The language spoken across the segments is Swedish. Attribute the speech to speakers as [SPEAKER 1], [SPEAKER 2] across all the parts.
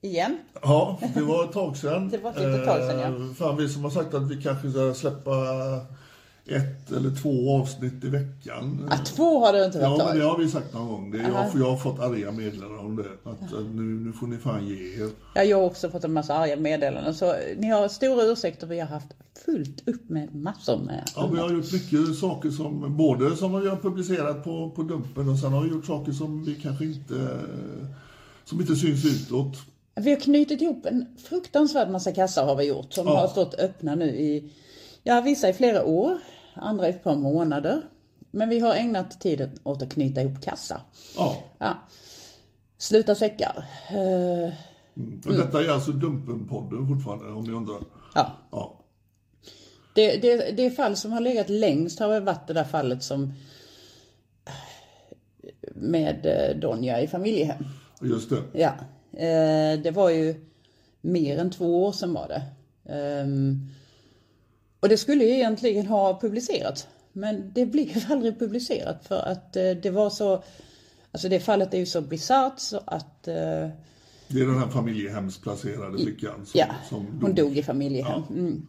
[SPEAKER 1] igen.
[SPEAKER 2] Ja, det var ett tag sedan.
[SPEAKER 1] Det var typ ett tag sedan, ja.
[SPEAKER 2] Eh, Fan, vi som har sagt att vi kanske ska släppa ett eller två avsnitt i veckan.
[SPEAKER 1] Ah, två har det inte varit
[SPEAKER 2] Ja, men det
[SPEAKER 1] ja,
[SPEAKER 2] har vi sagt någon gång. Det, jag, jag har fått arga meddelanden om det. Att eh, nu, nu får ni fan ge er.
[SPEAKER 1] ja, Jag har också fått en massa arga meddelanden. Så ni har stora ursäkter. Vi har haft fullt upp med massor med.
[SPEAKER 2] Ja, vi har gjort mycket saker som, både som vi har publicerat på, på Dumpen och sen har vi gjort saker som vi kanske inte, som inte syns utåt.
[SPEAKER 1] Vi har knutit ihop en fruktansvärd massa kassar har vi gjort. Som
[SPEAKER 2] Ja.
[SPEAKER 1] har stått öppna nu i, ja vissa i flera år. Andra i ett par månader. Men vi har ägnat tiden åt att knyta ihop kassar.
[SPEAKER 2] Ja,
[SPEAKER 1] Ja. Sluta säckar. Eh,
[SPEAKER 2] men detta är alltså Dumpen-podden fortfarande om ni undrar.
[SPEAKER 1] ja.
[SPEAKER 2] Ja.
[SPEAKER 1] Det, det, det fall som har legat längst har väl varit det där fallet som med eh, Donja i familjehem.
[SPEAKER 2] Just det.
[SPEAKER 1] Ja, eh, det var ju mer än två år sedan var det. Ehm, och det skulle ju egentligen ha publicerats. Men det blev aldrig publicerat för att eh, det var så... Alltså det fallet är ju så bisarrt så att... Eh,
[SPEAKER 2] Det är den här familjehemsplacerade flickan som,
[SPEAKER 1] Ja,
[SPEAKER 2] som
[SPEAKER 1] hon dog i familjehem. Mm.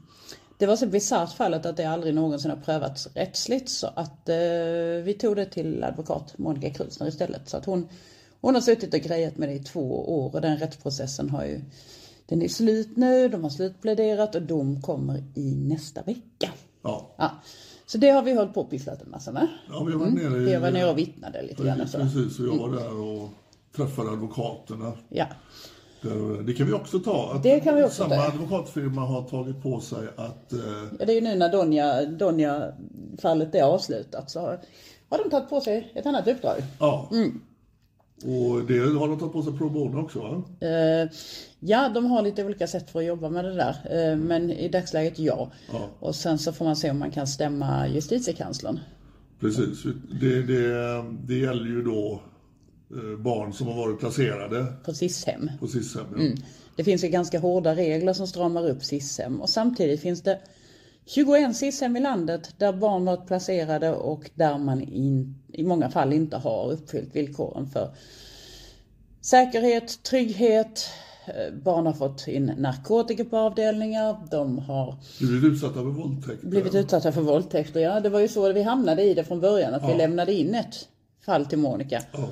[SPEAKER 1] Det var så bisarrt fallet att det aldrig någonsin har prövats rättsligt så att eh, vi tog det till advokat Monica Krusner istället. Så att hon, hon har suttit och grejat med det i två år och den rättsprocessen har ju, den är slut nu, de har slutpläderat och dom kommer i nästa vecka.
[SPEAKER 2] Ja,
[SPEAKER 1] Ja. Så det har vi hållit på och pysslat en massa med.
[SPEAKER 2] ja vi var nere i...
[SPEAKER 1] Mm. Jag var nere alltså. och vittnade lite grann och så.
[SPEAKER 2] Precis, och jag
[SPEAKER 1] Mm.
[SPEAKER 2] var där och träffade advokaterna.
[SPEAKER 1] Ja.
[SPEAKER 2] Där- Det kan vi också ta. Att
[SPEAKER 1] Det kan vi också
[SPEAKER 2] samma
[SPEAKER 1] ta.
[SPEAKER 2] advokatfirma har tagit på sig att... Eh,
[SPEAKER 1] Ja, det är ju nu när Donja, Donja-fallet är avslutat så har, har de tagit på sig ett annat uppdrag.
[SPEAKER 2] ja.
[SPEAKER 1] Mm.
[SPEAKER 2] Och det har de tagit på sig pro bono också va?
[SPEAKER 1] Eh, ja, de har lite olika sätt för att jobba med det där. Eh, men i dagsläget ja.
[SPEAKER 2] Ja.
[SPEAKER 1] Och sen så får man se om man kan stämma justitiekanslern.
[SPEAKER 2] Precis. Det, det, det gäller ju då eh, barn som har varit placerade
[SPEAKER 1] på SIS-hem.
[SPEAKER 2] på SIS-hem. ja.
[SPEAKER 1] Mm. Det finns ju ganska hårda regler som stramar upp SIS-hem och samtidigt finns det 21 SIS-hem i landet där barn varit placerade och där man in, i många fall inte har uppfyllt villkoren för säkerhet, trygghet. Eh, Barn har fått in narkotika på avdelningar, de har
[SPEAKER 2] Du blivit utsatta för våldtäkter.
[SPEAKER 1] blivit utsatta för våldtäkter. Ja, det var ju så vi hamnade i det från början, att vi lämnade in ett fall till Monica.
[SPEAKER 2] Ja.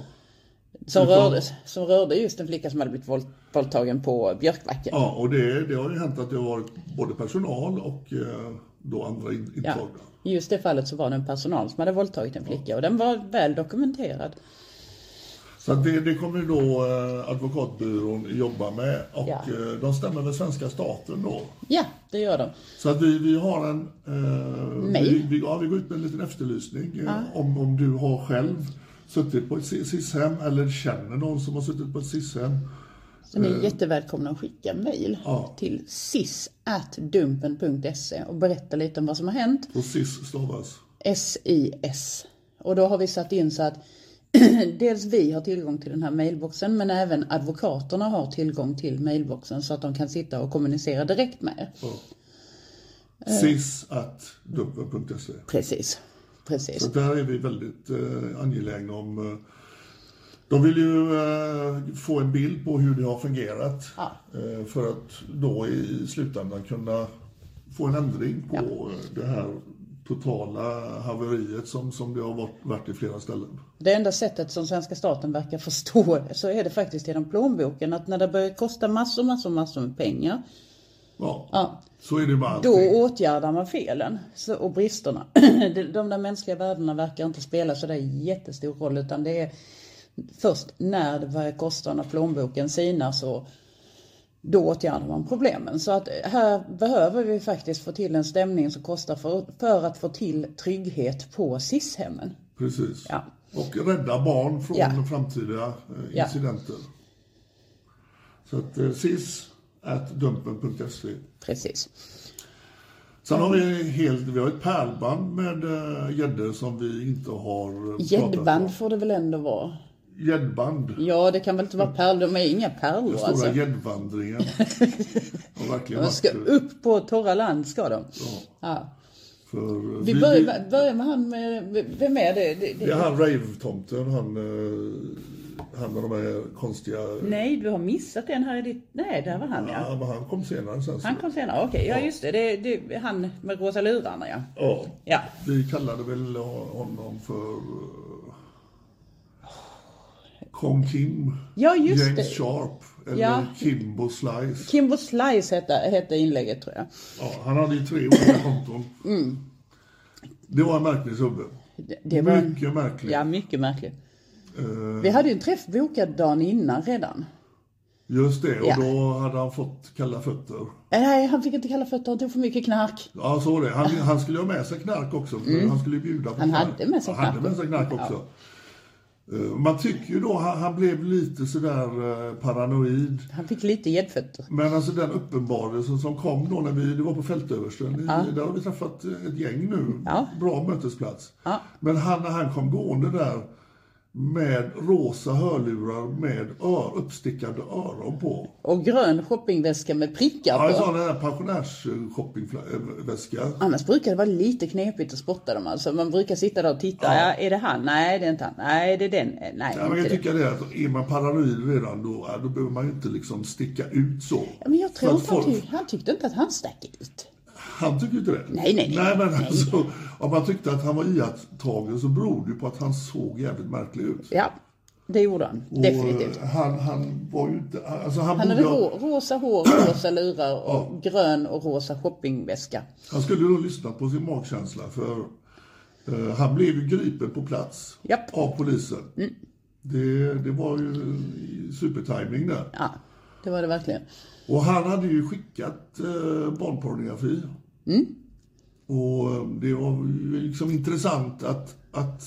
[SPEAKER 1] Som
[SPEAKER 2] Det är
[SPEAKER 1] rörde, som rörde just en flicka som hade blivit våld, våldtagen på Björkbacken.
[SPEAKER 2] Ja, och det, det har ju hänt att det har varit både personal och eh, då andra in-
[SPEAKER 1] Ja.
[SPEAKER 2] intagna.
[SPEAKER 1] I just det fallet så var det en personal som hade våldtagit en flicka och den var väl dokumenterad.
[SPEAKER 2] Så att det, det kommer ju då eh, advokatbyrån jobba med och
[SPEAKER 1] Ja.
[SPEAKER 2] eh, de stämmer med svenska staten då.
[SPEAKER 1] Ja, det gör de.
[SPEAKER 2] Så att vi, vi har en... Eh,
[SPEAKER 1] Mail.
[SPEAKER 2] vi, vi, ja, vi går ut med en liten efterlysning eh, om, om du har själv suttit på ett si- SIS-hem eller känner någon som har suttit på ett SIS-hem.
[SPEAKER 1] Så ni är jättevälkomna att skicka mejl
[SPEAKER 2] Ja.
[SPEAKER 1] till sis.dumpen.se och berätta lite om vad som har hänt.
[SPEAKER 2] Och SIS stavas.
[SPEAKER 1] SIS. Och då har vi satt in så att dels vi har tillgång till den här mailboxen men även advokaterna har tillgång till mailboxen så att de kan sitta och kommunicera direkt med er. Eh.
[SPEAKER 2] Sis att dumpen.se.
[SPEAKER 1] Precis. Precis.
[SPEAKER 2] Så där är vi väldigt eh, angelägna om... Eh, de vill ju eh, få en bild på hur det har fungerat
[SPEAKER 1] Ja.
[SPEAKER 2] eh, för att då i slutändan kunna få en ändring på eh, det här totala haveriet som, som det har varit, varit i flera ställen.
[SPEAKER 1] Det enda sättet som svenska staten verkar förstå så är det faktiskt genom plånboken att när det börjar kosta massor, massor, massor med pengar
[SPEAKER 2] Ja,
[SPEAKER 1] Ja.
[SPEAKER 2] så är det med allting.
[SPEAKER 1] Då åtgärdar man felen så, och bristerna. De- De där mänskliga värdena verkar inte spela så där jättestor roll utan det är först när det börjar kosta, när plånboken sinar så då åtgärdar man problemen. Så att här behöver vi faktiskt få till en stämning som kostar för, för att få till trygghet på SIS-hemmen.
[SPEAKER 2] Precis.
[SPEAKER 1] Ja.
[SPEAKER 2] Och rädda barn från
[SPEAKER 1] Ja.
[SPEAKER 2] framtida eh,
[SPEAKER 1] Ja.
[SPEAKER 2] incidenter. Så att eh, sis at dumpen.se
[SPEAKER 1] Precis.
[SPEAKER 2] Sen har vi, helt, vi har ett pärlband med eh, gäddor som vi inte har eh, pratat om.
[SPEAKER 1] Gäddband får det väl ändå vara?
[SPEAKER 2] Gäddband.
[SPEAKER 1] Ja, det kan väl inte vara pärlor? De är inga
[SPEAKER 2] Den
[SPEAKER 1] pärlor alltså.
[SPEAKER 2] stora gäddvandringen. har verkligen
[SPEAKER 1] De ska
[SPEAKER 2] varit
[SPEAKER 1] upp på torra land ska de.
[SPEAKER 2] för... eh,
[SPEAKER 1] Vi börjar, börjar med han med, vem är det? det,
[SPEAKER 2] Det är
[SPEAKER 1] det.
[SPEAKER 2] han rave-tomten, han, eh, han med de här konstiga...
[SPEAKER 1] Nej, du har missat en här i ditt... Nej, där var han ja.
[SPEAKER 2] Ja, men han kom senare sen. så-
[SPEAKER 1] Han kom senare, okej. Ja, just det. Det det är han med rosa lurarna ja.
[SPEAKER 2] Ja.
[SPEAKER 1] Ja.
[SPEAKER 2] Vi kallade väl honom för... eh, Kong Kim.
[SPEAKER 1] Ja, just
[SPEAKER 2] James
[SPEAKER 1] det.
[SPEAKER 2] Sharp. Eller
[SPEAKER 1] Ja.
[SPEAKER 2] Kimbo Slice.
[SPEAKER 1] Kimbo Slice hette, hette inlägget tror jag.
[SPEAKER 2] Ja, han hade ju tre olika konton.
[SPEAKER 1] Mm.
[SPEAKER 2] Det var en märklig subbe.
[SPEAKER 1] Det, det var en,
[SPEAKER 2] Mycket märklig.
[SPEAKER 1] Mm. ja, mycket märkligt.
[SPEAKER 2] Eh,
[SPEAKER 1] Vi hade ju en träff bokad dagen innan redan.
[SPEAKER 2] Just det, och
[SPEAKER 1] Ja.
[SPEAKER 2] då hade han fått kalla fötter.
[SPEAKER 1] Eh, Nej, han fick inte kalla fötter, han tog för mycket knark.
[SPEAKER 2] Ja, så var det. Han, han skulle ha med sig knark också. För Han skulle bjuda på
[SPEAKER 1] Mm. Han
[SPEAKER 2] knark.
[SPEAKER 1] hade med sig
[SPEAKER 2] han hade
[SPEAKER 1] knark.
[SPEAKER 2] med sig knark också. Eh, Man tycker ju då, han, han blev lite sådär eh, paranoid.
[SPEAKER 1] Han fick lite gäddfötter.
[SPEAKER 2] Men alltså den uppenbarelsen som kom då när vi, det var på Fältöversten, i- där har vi träffat eh, ett gäng nu.
[SPEAKER 1] Ja.
[SPEAKER 2] Bra mötesplats.
[SPEAKER 1] Ja.
[SPEAKER 2] Men han när han kom gående där med rosa hörlurar med ör, uppstickade öron på.
[SPEAKER 1] Och grön shoppingväska med prickar
[SPEAKER 2] Ja,
[SPEAKER 1] på.
[SPEAKER 2] jag sa den här pensionärsshoppingväska.
[SPEAKER 1] Annars brukar det vara lite knepigt att spotta dem alltså. Man brukar sitta där och titta. Ja. är det han? Nej, det är inte han. Nej, det är den. Eh, Nej,
[SPEAKER 2] Ja,
[SPEAKER 1] inte
[SPEAKER 2] men jag
[SPEAKER 1] den.
[SPEAKER 2] tycker det är att är man paranoid redan då, ja, då behöver man ju inte liksom sticka ut så.
[SPEAKER 1] Ja, men jag tror
[SPEAKER 2] För
[SPEAKER 1] inte
[SPEAKER 2] att
[SPEAKER 1] han,
[SPEAKER 2] folk-
[SPEAKER 1] tyck- han tyckte inte att han stack ut.
[SPEAKER 2] Han tycker inte det.
[SPEAKER 1] Nej, nej, nej.
[SPEAKER 2] nej men alltså, om man tyckte att han var iakttagen så beror det ju på att han såg jävligt märklig ut.
[SPEAKER 1] Ja, det gjorde han. Definitivt.
[SPEAKER 2] Och eh, han, han var ju inte... Alltså han,
[SPEAKER 1] Han hade
[SPEAKER 2] borde,
[SPEAKER 1] rå, rosa hår, rosa lurar och grön och rosa shoppingväska.
[SPEAKER 2] han skulle nog lyssna på sin magkänsla för eh, han blev ju gripen på plats
[SPEAKER 1] Japp. Mm.
[SPEAKER 2] av polisen. Det, det var ju supertiming där.
[SPEAKER 1] Ja, det var det verkligen.
[SPEAKER 2] Och han hade ju skickat eh, barnpornografi.
[SPEAKER 1] Mm.
[SPEAKER 2] Och eh, det var ju liksom intressant att, att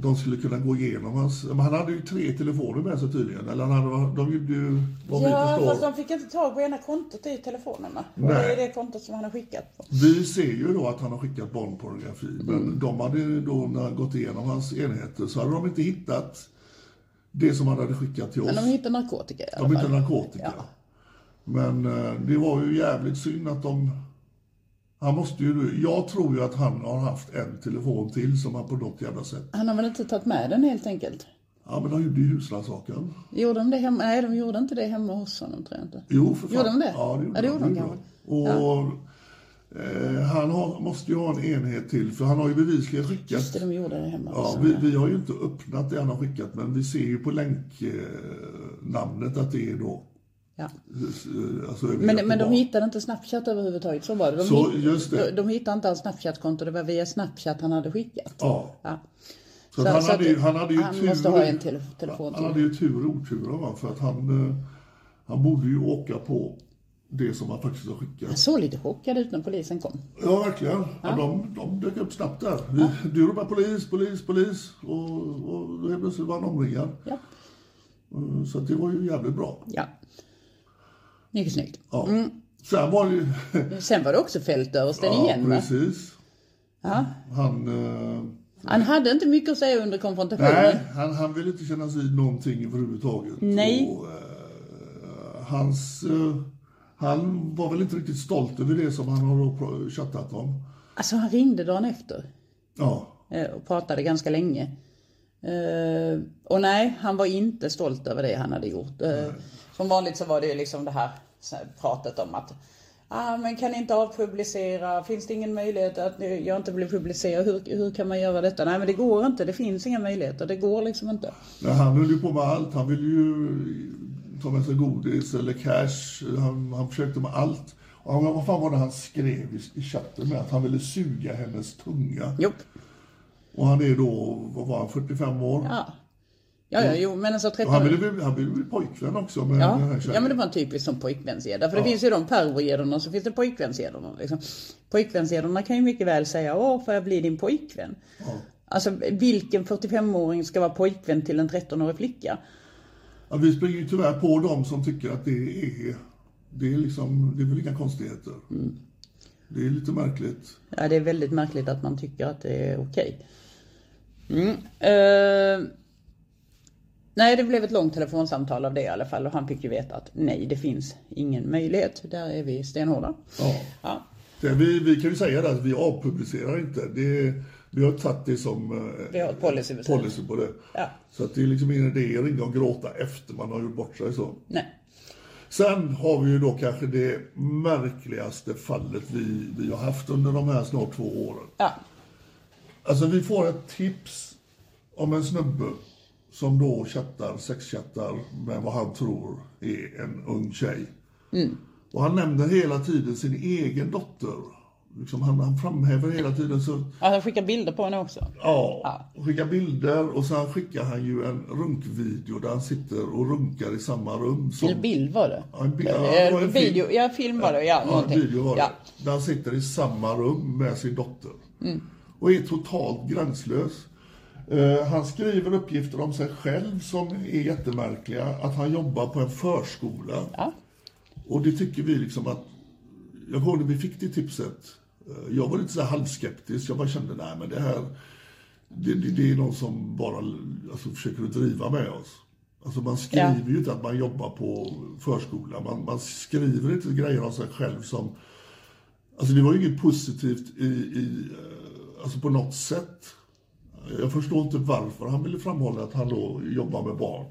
[SPEAKER 2] de skulle kunna gå igenom hans... Men han hade ju tre telefoner med sig tydligen. Eller han hade, de gjorde ju, vad vi förstår.
[SPEAKER 1] fick inte tag på ena kontot i telefonerna.
[SPEAKER 2] Nej. Det är det
[SPEAKER 1] kontot som han har skickat på.
[SPEAKER 2] Vi ser ju då att han har skickat barnpornografi,
[SPEAKER 1] Mm.
[SPEAKER 2] men de hade ju då när gått igenom hans enheter så hade de inte hittat det som han hade skickat till oss.
[SPEAKER 1] Men de hittade narkotika i alla
[SPEAKER 2] De hittade
[SPEAKER 1] fall.
[SPEAKER 2] narkotika. Men eh, det var ju jävligt synd att de... Han måste ju... Jag tror ju att han har haft en telefon till som han på något jävla sätt...
[SPEAKER 1] Han har väl inte tagit med den helt enkelt?
[SPEAKER 2] Ja, men de gjorde ju husrannsakan.
[SPEAKER 1] Gjorde de det hemma? Nej, de gjorde inte det hemma hos honom tror jag inte.
[SPEAKER 2] Jo, för fan.
[SPEAKER 1] Gjorde de det?
[SPEAKER 2] Ja, det gjorde,
[SPEAKER 1] Ja, det gjorde de
[SPEAKER 2] de. Och eh, han har, måste ju ha en enhet till, för han har ju bevisligen skickat...
[SPEAKER 1] Just det, de gjorde det hemma hos
[SPEAKER 2] Ja,
[SPEAKER 1] honom.
[SPEAKER 2] vi, vi har ju inte öppnat det han har skickat, men vi ser ju på länknamnet att det är då...
[SPEAKER 1] Ja.
[SPEAKER 2] eh, Alltså,
[SPEAKER 1] Men, men de hittade inte Snapchat överhuvudtaget, så var det. De,
[SPEAKER 2] Så,
[SPEAKER 1] hitt-
[SPEAKER 2] just det.
[SPEAKER 1] De, de hittade inte hans Snapchat-konto, det var via Snapchat han hade skickat.
[SPEAKER 2] Ja.
[SPEAKER 1] Ja.
[SPEAKER 2] Så, att han,
[SPEAKER 1] så att
[SPEAKER 2] hade ju, han hade ju
[SPEAKER 1] han
[SPEAKER 2] tur...
[SPEAKER 1] måste ha en tele- telefon
[SPEAKER 2] Han
[SPEAKER 1] till.
[SPEAKER 2] hade ju tur och otur, va? för att han, eh, han borde ju åka på det som han faktiskt har
[SPEAKER 1] Han
[SPEAKER 2] skickat.
[SPEAKER 1] såg lite chockad ut när polisen kom.
[SPEAKER 2] Ja, verkligen. Ja. de, de dök upp snabbt där. Vi, Du ropade polis, polis, polis och, och då helt plötsligt var han omringad.
[SPEAKER 1] Ja,
[SPEAKER 2] Eh, Så att det var ju jävligt bra.
[SPEAKER 1] ja. Mycket snyggt.
[SPEAKER 2] Ja. Sen var det ju...
[SPEAKER 1] Sen var det också fältöversten igen va?
[SPEAKER 2] precis. Han, eh,
[SPEAKER 1] Han hade inte mycket att säga under konfrontationen.
[SPEAKER 2] nej, han, han ville inte kännas vid någonting överhuvudtaget.
[SPEAKER 1] Nej.
[SPEAKER 2] Och, eh, hans, eh, han var väl inte riktigt stolt över det som han har då pr- chattat om.
[SPEAKER 1] Alltså han ringde dagen efter
[SPEAKER 2] Ja,
[SPEAKER 1] eh, och pratade ganska länge. Eh, Och nej, han var inte stolt över det han hade gjort. Eh, Som vanligt så var det ju liksom det här så här pratet om att Ah, men kan ni inte avpublicera? Finns det ingen möjlighet att ni- jag inte blir publicerad? Hur, hur kan man göra detta? Nej men det går inte. Det finns inga möjligheter. Det går liksom inte.
[SPEAKER 2] Nej, han höll ju på med allt. Han ville ju ta med sig godis eller cash. Han, han försökte med allt. Och han, vad fan var det han skrev i, i chatten med? Att han ville suga hennes tunga.
[SPEAKER 1] Jo.
[SPEAKER 2] Och han är då, vad var han, 45 år?
[SPEAKER 1] Ja. Ja, ja, jo, men alltså
[SPEAKER 2] Och han
[SPEAKER 1] 13
[SPEAKER 2] ville bli, han ville bli pojkvän också med
[SPEAKER 1] Ja,
[SPEAKER 2] den här tjejen.
[SPEAKER 1] ja men det var en typisk som pojkvänsgädda. För det finns ju de pervergäddorna och så finns det pojkvänsgäddorna. Liksom. Pojkvänsgäddorna kan ju mycket väl säga Åh, får jag bli din pojkvän? Alltså vilken 45-åring ska vara pojkvän till en 13-årig flicka?
[SPEAKER 2] ja, vi springer ju tyvärr på dem som tycker att det är, det är liksom, det är väl inga konstigheter.
[SPEAKER 1] Mm.
[SPEAKER 2] Det är lite märkligt.
[SPEAKER 1] Ja, det är väldigt märkligt att man tycker att det är okej. Mm. Eh, nej, det blev ett långt telefonsamtal av det i alla fall och han fick ju veta att nej, det finns ingen möjlighet. Där är vi stenhårda.
[SPEAKER 2] Ja.
[SPEAKER 1] Ja.
[SPEAKER 2] Det, vi, vi kan ju säga det att vi avpublicerar inte. Det, vi har tagit det som eh,
[SPEAKER 1] Vi har ett policybeslut.
[SPEAKER 2] policy på det.
[SPEAKER 1] Ja.
[SPEAKER 2] Så att det är liksom ingen idé att ringa och gråta efter man har gjort bort sig. Så.
[SPEAKER 1] Nej.
[SPEAKER 2] Sen har vi ju då kanske det märkligaste fallet vi, vi har haft under de här snart två åren.
[SPEAKER 1] Ja.
[SPEAKER 2] Alltså vi får ett tips om en snubbe som då chattar, sexchattar med vad han tror är en ung tjej.
[SPEAKER 1] Mm.
[SPEAKER 2] Och han nämner hela tiden sin egen dotter. Liksom han, han framhäver hela tiden så,
[SPEAKER 1] Ja, han Alltså, skickar bilder på henne också.
[SPEAKER 2] ja, och skickar bilder och sen skickar han ju en runkvideo där han sitter och runkar i samma rum. Som,
[SPEAKER 1] Eller bild var det.
[SPEAKER 2] Ja, en bild- ja, det
[SPEAKER 1] Eh,
[SPEAKER 2] var en film.
[SPEAKER 1] video, ja, film var det. Ja,
[SPEAKER 2] Ja,
[SPEAKER 1] någonting.
[SPEAKER 2] video var det.
[SPEAKER 1] Ja.
[SPEAKER 2] Där han sitter i samma rum med sin dotter.
[SPEAKER 1] Mm.
[SPEAKER 2] Och är totalt gränslös. Eh, han skriver uppgifter om sig själv som är jättemärkliga. Att han jobbar på en förskola. Och det tycker vi liksom att... Jag kommer ihåg när vi fick det tipset. eh, Jag var lite så här halvskeptisk. Jag bara kände, nej men det här... Det, det, det är någon som bara alltså, försöker att driva med oss. Alltså man skriver ju inte att man jobbar på förskola. Man, man skriver inte grejer om sig själv som... Alltså det var ju inget positivt i, i, eh, alltså på något sätt. Jag förstår inte varför han ville framhålla att han då jobbar med barn.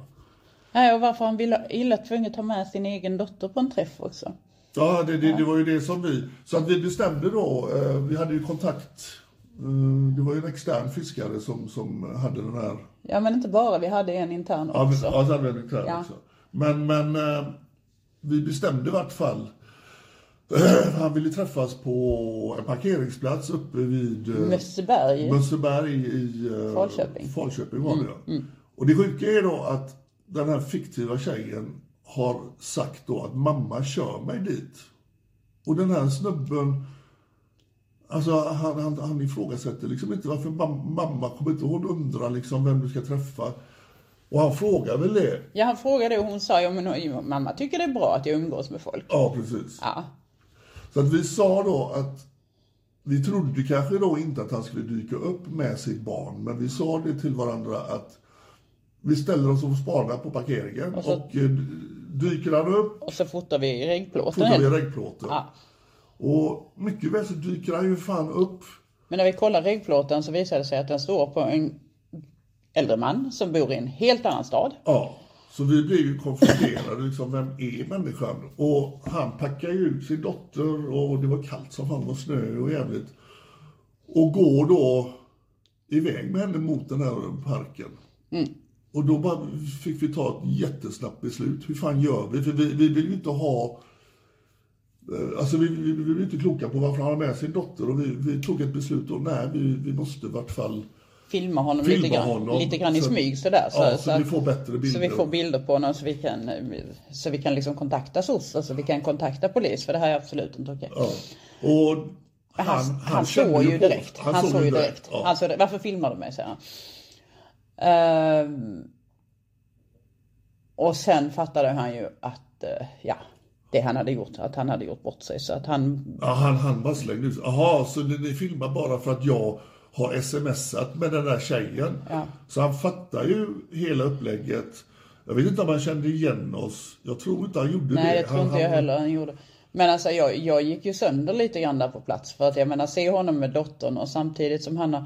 [SPEAKER 1] Nej, och varför han ville illa tvunget ta med sin egen dotter på en träff också.
[SPEAKER 2] Ja, det, det, det var ju det som vi... Så att vi bestämde då, eh, vi hade ju kontakt... Eh, det var ju en extern fiskare som, som hade den här...
[SPEAKER 1] Ja, men inte bara. Vi hade en intern
[SPEAKER 2] Ja, vi-
[SPEAKER 1] också.
[SPEAKER 2] ja, så hade vi en extern
[SPEAKER 1] Ja.
[SPEAKER 2] också. Men, men eh, vi bestämde i vart fall... han ville träffas på en parkeringsplats uppe vid... eh,
[SPEAKER 1] Mösseberg.
[SPEAKER 2] Mönsterberg i eh,
[SPEAKER 1] Falköping.
[SPEAKER 2] Falköping var det ja. Och det sjuka är då att den här fiktiva tjejen har sagt då att mamma kör mig dit. Och den här snubben, alltså han, han, han ifrågasätter liksom inte varför mam, mamma kommer inte hon undra liksom vem du ska träffa. Och han frågar väl det.
[SPEAKER 1] Ja, han frågade och hon sa ja, men oj, mamma tycker det är bra att jag umgås med folk.
[SPEAKER 2] Ja, precis.
[SPEAKER 1] Ja.
[SPEAKER 2] Så att vi sa då att vi trodde kanske då inte att han skulle dyka upp med sitt barn, men vi sa det till varandra att vi ställer oss och spanar på parkeringen och,
[SPEAKER 1] så-
[SPEAKER 2] eh, dyker han upp
[SPEAKER 1] Och så fotar vi regnplåten.
[SPEAKER 2] fotar vi
[SPEAKER 1] helt.
[SPEAKER 2] regnplåten. Och mycket väl så dyker han ju fan upp.
[SPEAKER 1] Men när vi kollar regnplåten så visade det sig att den står på en äldre man som bor i en helt annan stad.
[SPEAKER 2] Ja, så vi blev ju konfronterade liksom, vem är människan? Och han packade ju ut sin dotter och det var kallt som fan och snö och jävligt. Och går då iväg med henne mot den här parken.
[SPEAKER 1] Mm.
[SPEAKER 2] Och då bara fick vi ta ett jättesnabbt beslut. Hur fan gör vi? För vi, vi vill ju inte ha... eh, Alltså vi, vi, vi blev inte kloka på varför han har med sin dotter och vi, vi tog ett beslut och nej, vi, vi måste i vart fall
[SPEAKER 1] Filma honom
[SPEAKER 2] filma
[SPEAKER 1] lite grann,
[SPEAKER 2] honom.
[SPEAKER 1] lite grann i
[SPEAKER 2] Så-
[SPEAKER 1] smyg sådär.
[SPEAKER 2] ja,
[SPEAKER 1] så,
[SPEAKER 2] så, vi får bättre bilder.
[SPEAKER 1] Så vi får bilder på honom så vi kan, så vi kan liksom kontakta SOS, alltså vi kan kontakta polis för det här är absolut inte okej.
[SPEAKER 2] Ja. Och
[SPEAKER 1] Han, han,
[SPEAKER 2] kände
[SPEAKER 1] såg ju
[SPEAKER 2] på-
[SPEAKER 1] direkt. Han, såg ju direkt.
[SPEAKER 2] Ja.
[SPEAKER 1] Han såg, det. varför filmar du mig? säger han. Ehm, och sen fattade han ju att, eh, ja, det han hade gjort, att han hade gjort bort sig. Så att han,
[SPEAKER 2] Ja, han, han bara slängde ut. Jaha, så ni, ni filmar bara för att jag har smsat med den där tjejen. Så han fattar ju hela upplägget. Jag vet inte om han kände igen oss. Jag tror inte han gjorde det.
[SPEAKER 1] nej det tror
[SPEAKER 2] han,
[SPEAKER 1] inte jag
[SPEAKER 2] han-
[SPEAKER 1] heller han gjorde. Men alltså jag, jag gick ju sönder lite grann där på plats. För att jag menar, se honom med dottern och samtidigt som han har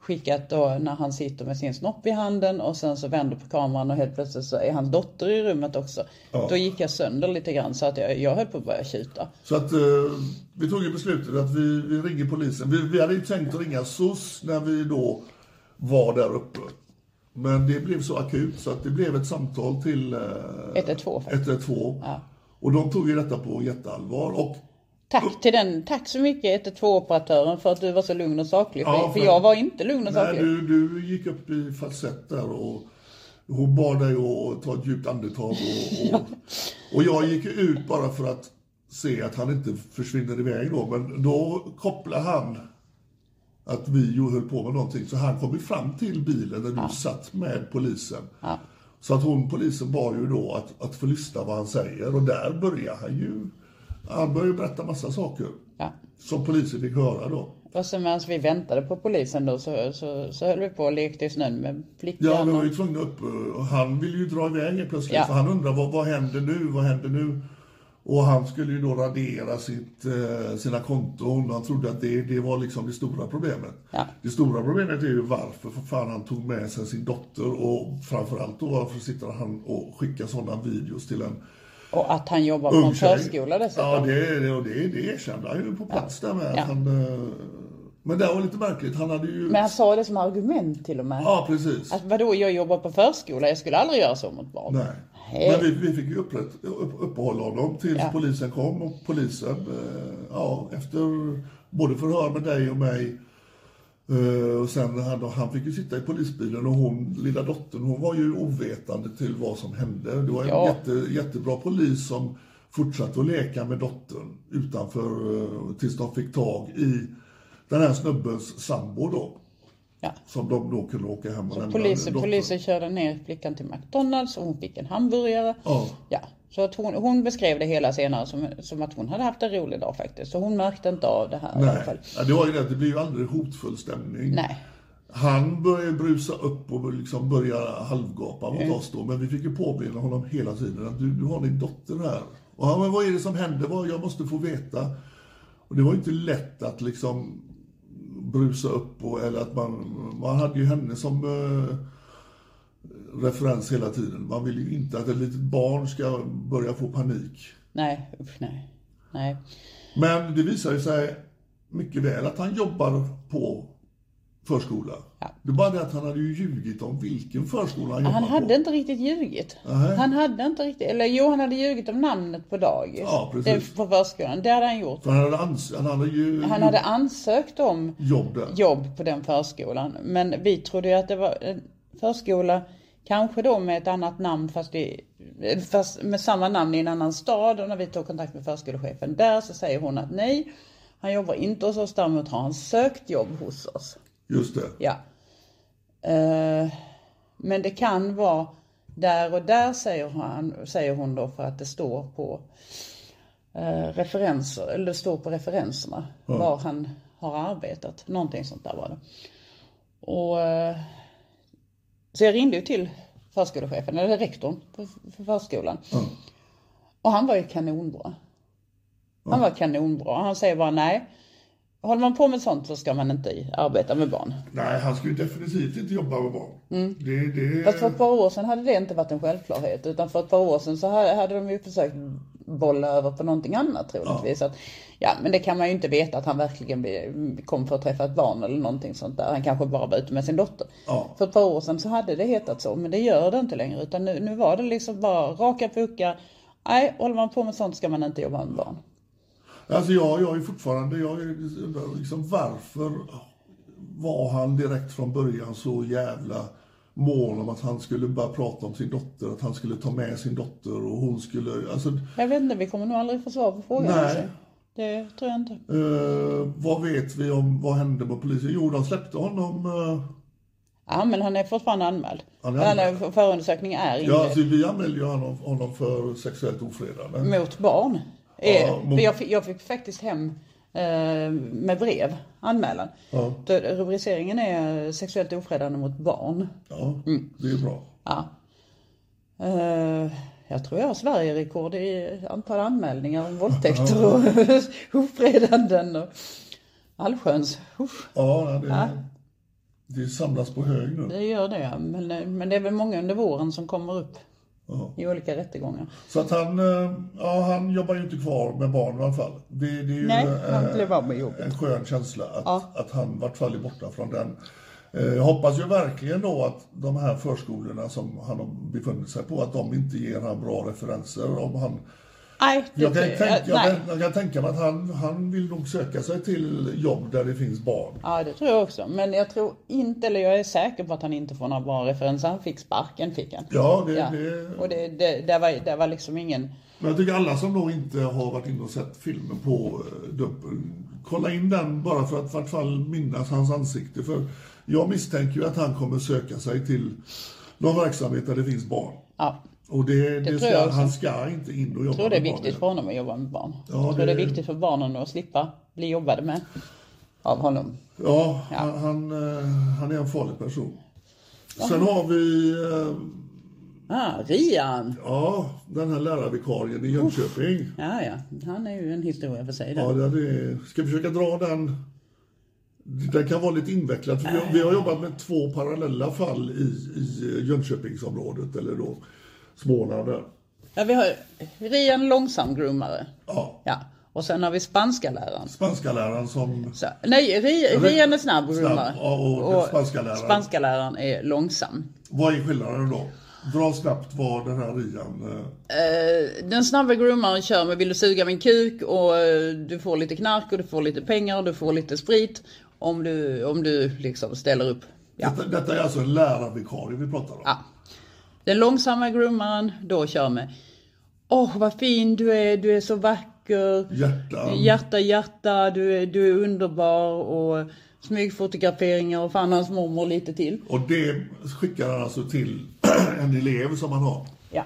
[SPEAKER 1] skickat då när han sitter med sin snopp i handen och sen så vänder på kameran och helt plötsligt så är hans dotter i rummet också. Då gick jag sönder lite grann så att jag, jag höll på att börja tjuta.
[SPEAKER 2] Så att eh, vi tog ju beslutet att vi, vi ringer polisen. Vi, vi hade ju tänkt att ringa SOS när vi då var där uppe. Men det blev så akut så att det blev ett samtal till eh,
[SPEAKER 1] 112 faktiskt.
[SPEAKER 2] 112. Och de tog ju detta på jätteallvar. Och
[SPEAKER 1] Tack till den, tack så mycket 112-operatören för att du var så lugn och saklig.
[SPEAKER 2] Ja,
[SPEAKER 1] för, för
[SPEAKER 2] för-
[SPEAKER 1] jag var inte lugn och
[SPEAKER 2] Nej,
[SPEAKER 1] saklig.
[SPEAKER 2] du, du gick upp i falsett där och hon bad dig att ta ett djupt andetag. Och, och, och jag gick ju ut bara för att se att han inte försvinner iväg då. Men då kopplade han att vi ju höll på med någonting. Så han kom ju fram till bilen där du satt med polisen. Så att hon, polisen bad ju då att, att få lyssna vad han säger. Och där börjar han ju. Han börjar ju berätta massa saker.
[SPEAKER 1] Ja.
[SPEAKER 2] Som polisen fick höra då.
[SPEAKER 1] Och sen medan vi väntade på polisen då så, så, så höll vi på och lekte i snön med flickan.
[SPEAKER 2] Ja, vi var
[SPEAKER 1] och,
[SPEAKER 2] ju tvungna upp. eh, och Han ville ju dra iväg helt plötsligt.
[SPEAKER 1] Ja.
[SPEAKER 2] För han undrade vad, vad händer nu, vad händer nu? Och han skulle ju då radera sitt, eh, sina konton. Han trodde att det, det var liksom det stora problemet.
[SPEAKER 1] Ja.
[SPEAKER 2] Det stora problemet är ju varför för fan han tog med sig sin dotter och framförallt då varför sitter han och skickar sådana videos till en
[SPEAKER 1] och att han jobbar på
[SPEAKER 2] ung
[SPEAKER 1] en
[SPEAKER 2] tjej.
[SPEAKER 1] förskola dessutom.
[SPEAKER 2] Ja, det, det, och det, det erkände han ju på plats där med.
[SPEAKER 1] Ja.
[SPEAKER 2] Att han, eh, men det var lite märkligt. Han hade ju...
[SPEAKER 1] Men han sa det som argument till och med.
[SPEAKER 2] Ja, precis.
[SPEAKER 1] Att vadå, jag jobbar på förskola, jag skulle aldrig göra så mot barn.
[SPEAKER 2] Nej.
[SPEAKER 1] Nej.
[SPEAKER 2] Men vi, vi fick ju upprätt, upp, uppehålla honom tills
[SPEAKER 1] Ja.
[SPEAKER 2] polisen kom och polisen, eh, ja, efter både förhör med dig och mig eh, och sen han, han fick ju sitta i polisbilen och hon, lilla dottern, hon var ju ovetande till vad som hände. Det var en
[SPEAKER 1] Ja.
[SPEAKER 2] jätte, jättebra polis som fortsatte att leka med dottern utanför eh, tills de fick tag i den här snubbens sambo då.
[SPEAKER 1] Ja.
[SPEAKER 2] Som de då kunde åka hem och lämna
[SPEAKER 1] Polisen,
[SPEAKER 2] dottern.
[SPEAKER 1] polisen körde ner flickan till McDonalds och hon fick en hamburgare.
[SPEAKER 2] Ja.
[SPEAKER 1] Ja, så att hon, hon beskrev det hela senare som, som att hon hade haft en rolig dag faktiskt. Så hon märkte inte av det här i alla fall.
[SPEAKER 2] Nej, ja, det var ju det. Det blir ju aldrig hotfull stämning.
[SPEAKER 1] Nej.
[SPEAKER 2] Han började brusa upp och liksom börja halvgapa
[SPEAKER 1] Mm.
[SPEAKER 2] mot oss då. Men vi fick ju påminna honom hela tiden att du, du har din dotter här. Och han, men vad är det som händer? Vad, jag måste få veta. Och det var ju inte lätt att liksom brusa upp och, eller att man, man hade ju henne som eh, referens hela tiden. Man vill ju inte att ett litet barn ska börja få panik.
[SPEAKER 1] Nej, usch nej. Nej.
[SPEAKER 2] Men det visar ju sig mycket väl att han jobbar på förskola. Det är bara det att han hade ju ljugit om vilken förskola han
[SPEAKER 1] Han
[SPEAKER 2] jobbade
[SPEAKER 1] hade
[SPEAKER 2] på.
[SPEAKER 1] inte riktigt ljugit. Han hade inte riktigt, eller jo han hade ljugit om namnet på dagis.
[SPEAKER 2] Ja, precis.
[SPEAKER 1] Det, på förskolan, det hade han gjort.
[SPEAKER 2] För han hade, ans- han hade ju
[SPEAKER 1] Han hade ansökt om
[SPEAKER 2] jobb där.
[SPEAKER 1] jobb på den förskolan. Men vi trodde ju att det var en förskola, kanske då med ett annat namn fast, i, fast med samma namn i en annan stad. Och när vi tog kontakt med förskolechefen där så säger hon att nej, han jobbar inte hos oss, däremot har han sökt jobb hos oss.
[SPEAKER 2] Just det.
[SPEAKER 1] Ja. Eh, men det kan vara där och där säger, han, säger hon då för att det står på eh, referenser, eller det står på referenserna var han har arbetat. Någonting sånt där var det. Och, eh, så jag ringde ju till förskolechefen, eller rektorn på för förskolan. Och han var ju kanonbra. Han var kanonbra. Han säger bara nej. Håller man på med sånt så ska man inte arbeta med barn.
[SPEAKER 2] Nej, han skulle ju definitivt inte jobba med barn.
[SPEAKER 1] Mm.
[SPEAKER 2] Det, det...
[SPEAKER 1] Fast för ett par år sedan hade det inte varit en självklarhet. Utan för ett par år sedan så ha- hade de ju försökt bolla över på någonting annat troligtvis. Ja. Att, ja, men det kan man ju inte veta att han verkligen blir- kom för att träffa ett barn eller någonting sånt där. Han kanske bara var ute med sin dotter.
[SPEAKER 2] Ja.
[SPEAKER 1] För ett par år sedan så hade det hetat så, men det gör det inte längre. Utan nu, nu var det liksom bara raka puckar. Nej, håller man på med sånt ska man inte jobba med barn.
[SPEAKER 2] Alltså jag, jag är fortfarande, jag är- undrar liksom varför var han direkt från början så jävla mån om att han skulle bara prata om sin dotter, att han skulle ta med sin dotter och hon skulle, alltså
[SPEAKER 1] Jag vet inte, vi kommer nog aldrig få svar på frågan.
[SPEAKER 2] Nej.
[SPEAKER 1] alltså. Det tror jag inte.
[SPEAKER 2] Eh, vad vet vi om vad hände med polisen? Jo, de släppte honom eh,
[SPEAKER 1] Ja, men han är fortfarande anmäld.
[SPEAKER 2] Han är anmäld.
[SPEAKER 1] Eller Förundersökning är
[SPEAKER 2] Ja,
[SPEAKER 1] inledd
[SPEAKER 2] alltså, vi anmälde ju honom, honom för sexuellt ofredande.
[SPEAKER 1] mot barn. Eh,
[SPEAKER 2] mot-
[SPEAKER 1] för jag, fick, jag fick faktiskt hem eh, med brev anmälan.
[SPEAKER 2] Ja.
[SPEAKER 1] Då Rubriceringen är sexuellt ofredande mot barn.
[SPEAKER 2] Ja, det är bra.
[SPEAKER 1] Mm. Ja. Eh, jag tror jag har Sverigerekord i antal anmälningar om våldtäkter och ofredanden och allsköns. Usch,
[SPEAKER 2] Ja, det, det samlas på hög nu.
[SPEAKER 1] det gör det. Men, eh, men det är väl många under våren som kommer upp
[SPEAKER 2] Ja.
[SPEAKER 1] i olika rättegångar.
[SPEAKER 2] Så att han, eh, ja, han jobbar ju inte kvar med barn i alla fall. Det, det är ju
[SPEAKER 1] Nej,
[SPEAKER 2] eh,
[SPEAKER 1] han blev av med jobbet.
[SPEAKER 2] en skön känsla att,
[SPEAKER 1] Ja.
[SPEAKER 2] att han i vart fall är borta från den. Eh, Jag hoppas ju verkligen då att de här förskolorna som han har befunnit sig på, att de inte ger han bra referenser. Om han,
[SPEAKER 1] Nej, det,
[SPEAKER 2] jag, kan
[SPEAKER 1] det-
[SPEAKER 2] tänka, jag,
[SPEAKER 1] nej.
[SPEAKER 2] kan, jag kan tänka mig att han, han vill nog söka sig till jobb där det finns barn.
[SPEAKER 1] Ja, det tror jag också. Men jag tror inte, eller jag är säker på att han inte får några bra referenser. Han fick sparken, fick han.
[SPEAKER 2] Ja, det,
[SPEAKER 1] Ja.
[SPEAKER 2] det,
[SPEAKER 1] Och det, det, där, var, där var liksom ingen...
[SPEAKER 2] Men jag tycker alla som då inte har varit inne och sett filmen på eh, Dumpen, kolla in den bara för att i vart fall minnas hans ansikte. För jag misstänker ju att han kommer söka sig till någon verksamhet där det finns barn.
[SPEAKER 1] Ja,
[SPEAKER 2] Och det, det,
[SPEAKER 1] tror jag
[SPEAKER 2] ska,
[SPEAKER 1] också.
[SPEAKER 2] han ska inte in och jobba
[SPEAKER 1] jag tror det är
[SPEAKER 2] med barn.
[SPEAKER 1] viktigt för honom att jobba med barn.
[SPEAKER 2] Ja,
[SPEAKER 1] jag tror det...
[SPEAKER 2] det-
[SPEAKER 1] är viktigt för barnen att slippa bli jobbade med av honom.
[SPEAKER 2] Ja, Han, han, eh, han är en farlig person. Sen har vi eh,
[SPEAKER 1] Ah, Rian!
[SPEAKER 2] ja, den här lärarvikarien i Jönköping.
[SPEAKER 1] Ja, ja. Han är ju en historia för sig.
[SPEAKER 2] Ja,
[SPEAKER 1] Ja,
[SPEAKER 2] det är, ska vi försöka dra den? Den kan vara lite invecklad. För vi, har, vi har jobbat med två parallella fall i, i Jönköpingsområdet, eller då Småland. där.
[SPEAKER 1] ja, vi har Rian långsamgroomare.
[SPEAKER 2] Ja,
[SPEAKER 1] Ja. Och sen har vi spanska läraren.
[SPEAKER 2] spanska läraren som...
[SPEAKER 1] Så, nej, Ri-
[SPEAKER 2] men-
[SPEAKER 1] Rian är snabb groomare.
[SPEAKER 2] Snabb, ja, och
[SPEAKER 1] läraren.
[SPEAKER 2] Spanskaläraren.
[SPEAKER 1] spanska läraren är långsam.
[SPEAKER 2] Vad är skillnaden då? Dra snabbt vad den här Rian... eh,
[SPEAKER 1] Den snabba groomaren kör med vill du suga min kuk och eh, du får lite knark och du får lite pengar och du får lite sprit. Om du, om du liksom ställer upp. Ja.
[SPEAKER 2] Detta, detta är alltså en lärarvikarie vi pratar om.
[SPEAKER 1] ja. Den långsamma groomaren då kör med. Åh vad fin du är, du är så vacker.
[SPEAKER 2] Hjärtan.
[SPEAKER 1] Hjärta, hjärta, du är, du är underbar och smygfotograferingar och fan hans mormor lite till.
[SPEAKER 2] Och det skickar han alltså till en elev som han har.
[SPEAKER 1] Ja.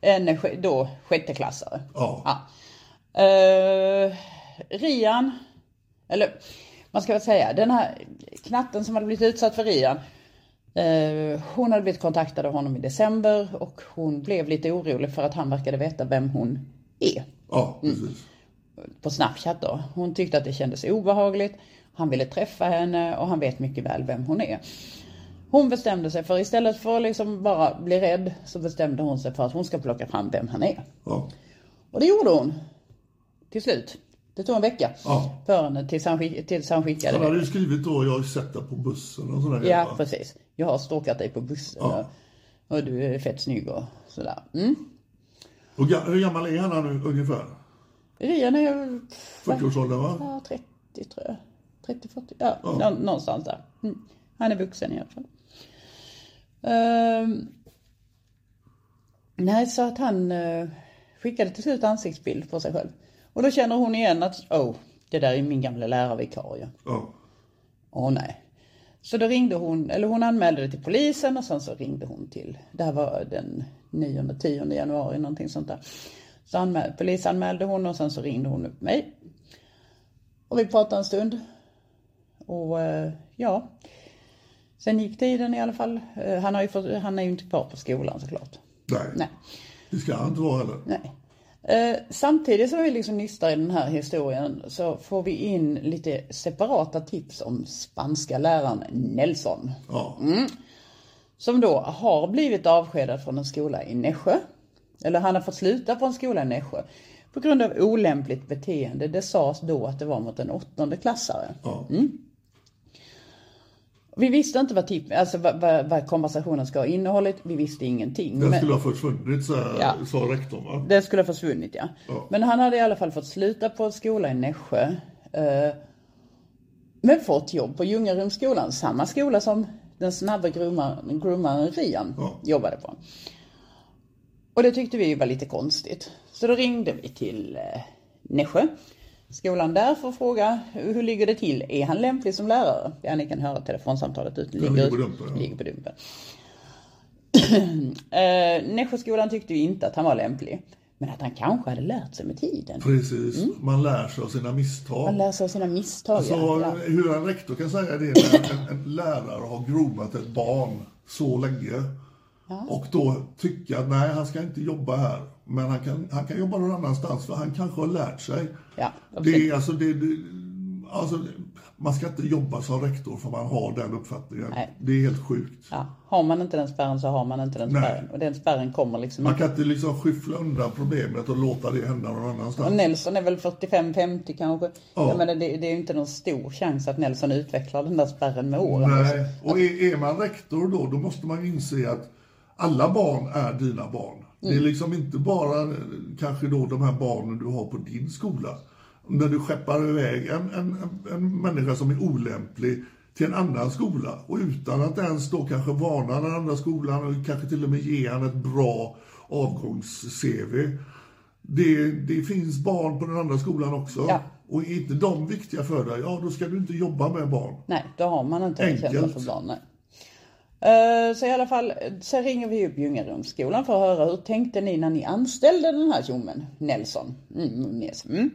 [SPEAKER 1] En sk- då sjätteklassare.
[SPEAKER 2] Ja.
[SPEAKER 1] Ah. Eh, Rian, eller man ska väl säga, den här knatten som hade blivit utsatt för Rian. eh, hon hade blivit kontaktad av honom i december och hon blev lite orolig för att han verkade veta vem hon är.
[SPEAKER 2] Ja,
[SPEAKER 1] Mm.
[SPEAKER 2] precis.
[SPEAKER 1] På Snapchat då. Hon tyckte att det kändes obehagligt. Han ville träffa henne och han vet mycket väl vem hon är. Hon bestämde sig för istället för att liksom bara bli rädd så bestämde hon sig för att hon ska plocka fram vem han är.
[SPEAKER 2] Ja.
[SPEAKER 1] Och det gjorde hon. Till slut. Det tog en vecka
[SPEAKER 2] Ja.
[SPEAKER 1] för henne tills han, skick, tills han skickade
[SPEAKER 2] Han
[SPEAKER 1] det.
[SPEAKER 2] hade ju skrivit då, jag har ju sett dig på bussen och sådär.
[SPEAKER 1] Ja, precis. Jag har stalkat dig på bussen och, och du är fett snygg och sådär. Mm.
[SPEAKER 2] Och ga- hur gammal är han nu ungefär?
[SPEAKER 1] Rian är ju
[SPEAKER 2] 40-årsåldern va?
[SPEAKER 1] ja, 30 tror jag. 30, 40, ja, nå- någonstans där. Mm. Han är vuxen i alla fall. Ehm, nej, så att han eh, skickade till slut ansiktsbild på sig själv. Och då känner hon igen att, oh, det där är min gamla lärarvikarie.
[SPEAKER 2] Ja.
[SPEAKER 1] Åh nej. Så då ringde hon, eller hon anmälde det till polisen och sen så ringde hon till, det här var den 9, 10 januari någonting sånt där. Så anmäl, polisanmälde hon och sen så ringde hon upp mig. Och vi pratade en stund. Och eh, ja, sen gick tiden i alla fall. Eh, Han, har ju fått, han är ju inte kvar på skolan såklart.
[SPEAKER 2] Nej.
[SPEAKER 1] Nej.
[SPEAKER 2] Det ska han inte vara heller.
[SPEAKER 1] Nej. Eh, samtidigt som vi liksom nystar i den här historien så får vi in lite separata tips om spanska läraren Nelson.
[SPEAKER 2] Ja.
[SPEAKER 1] Mm, Som då har blivit avskedad från en skola i Nässjö. Eller han har fått sluta på en skola i Nässjö. På grund av olämpligt beteende. Det sades då att det var mot en åttonde klassare. Mm.
[SPEAKER 2] Ja.
[SPEAKER 1] Vi visste inte vad, tip, alltså vad, vad, vad konversationen ska ha innehållit. Vi visste ingenting.
[SPEAKER 2] Den
[SPEAKER 1] Men-
[SPEAKER 2] skulle ha försvunnit, så här,
[SPEAKER 1] Ja.
[SPEAKER 2] sa rektorn va?
[SPEAKER 1] Det skulle ha försvunnit ja.
[SPEAKER 2] Ja.
[SPEAKER 1] Men han hade i alla fall fått sluta på en skola i Nässjö. Eh, men fått jobb på Ljungarumsskolan, samma skola som den snabba groomaren, groomaren Rian
[SPEAKER 2] Ja.
[SPEAKER 1] jobbade på. Och det tyckte vi var lite konstigt. Så då ringde vi till eh, Nässjö. skolan där får fråga hur ligger det till? Är han lämplig som lärare? Ja, ni kan höra telefonsamtalet. Ut, ligger,
[SPEAKER 2] ligger
[SPEAKER 1] ut-
[SPEAKER 2] på dumpen, ja.
[SPEAKER 1] ligger på dumpen. eh, Nässjöskolan tyckte ju inte att han var lämplig. Men att han kanske hade lärt sig med tiden.
[SPEAKER 2] Precis, man lär sig av sina misstag.
[SPEAKER 1] Han Mm. lär sig av sina misstag.
[SPEAKER 2] Så
[SPEAKER 1] ja. Ja.
[SPEAKER 2] Alltså, hur en rektor kan säga det när en, en lärare har groomat ett barn så länge och då tycka att nej, han ska inte jobba här. Men han kan, han kan jobba någon annanstans för han kanske har lärt sig.
[SPEAKER 1] Ja,
[SPEAKER 2] det
[SPEAKER 1] absolut.
[SPEAKER 2] är alltså, det, det, alltså, man ska inte jobba som rektor för man har den uppfattningen.
[SPEAKER 1] Nej.
[SPEAKER 2] Det är helt sjukt.
[SPEAKER 1] Ja, har man inte den spärren så har man inte den
[SPEAKER 2] Nej.
[SPEAKER 1] spärren. Och den spärren kommer liksom
[SPEAKER 2] Man
[SPEAKER 1] inte.
[SPEAKER 2] kan inte liksom skyffla undan problemet och låta det hända någon annanstans.
[SPEAKER 1] Och Nelson är väl 45-50 kanske.
[SPEAKER 2] Ja.
[SPEAKER 1] Jag menar, det, det är ju inte någon stor chans att Nelson utvecklar den där spärren med åren.
[SPEAKER 2] Nej, och är, är man rektor då, då måste man ju inse att alla barn är dina barn. Det är liksom inte bara eh, kanske då de här barnen du har på din skola. När du skeppar iväg en, en, en- en människa som är olämplig till en annan skola och utan att ens då kanske varna den andra skolan och kanske till och med ge han ett bra avgångs-CV. Det, det finns barn på den andra skolan också.
[SPEAKER 1] Ja.
[SPEAKER 2] Och är inte de viktiga för dig, ja då ska du inte jobba med barn.
[SPEAKER 1] Nej, då har man inte den
[SPEAKER 2] Enkelt.
[SPEAKER 1] känslan för barn. Nej. Eh, Så i alla fall, så ringer vi upp Ljungarumsskolan för att höra hur tänkte ni när ni anställde den här tjommen, Nelson? Mm, Nunez. Mm.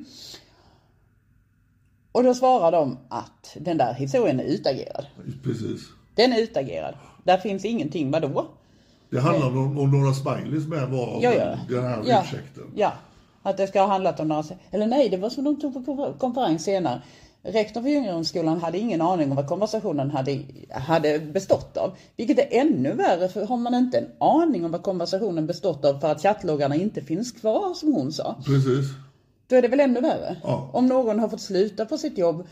[SPEAKER 1] Och då svarar de att den där historien är utagerad.
[SPEAKER 2] Precis.
[SPEAKER 1] Den är utagerad. Där finns ingenting, vadå?
[SPEAKER 2] Det handlar om, om några smileys med var
[SPEAKER 1] Ja, ja.
[SPEAKER 2] den här
[SPEAKER 1] ja.
[SPEAKER 2] ursäkten.
[SPEAKER 1] Ja, att det ska ha handlat om några... Eller nej, det var som de tog på konfer- konferens senare. Rektorn för Ljungarumsskolan hade ingen aning om vad konversationen hade, hade bestått av. Vilket är ännu värre, för har man inte en aning om vad konversationen bestått av för att chattloggarna inte finns kvar, som hon sa,
[SPEAKER 2] Precis.
[SPEAKER 1] då är det väl ännu värre?
[SPEAKER 2] Ja.
[SPEAKER 1] Om någon har fått sluta på sitt jobb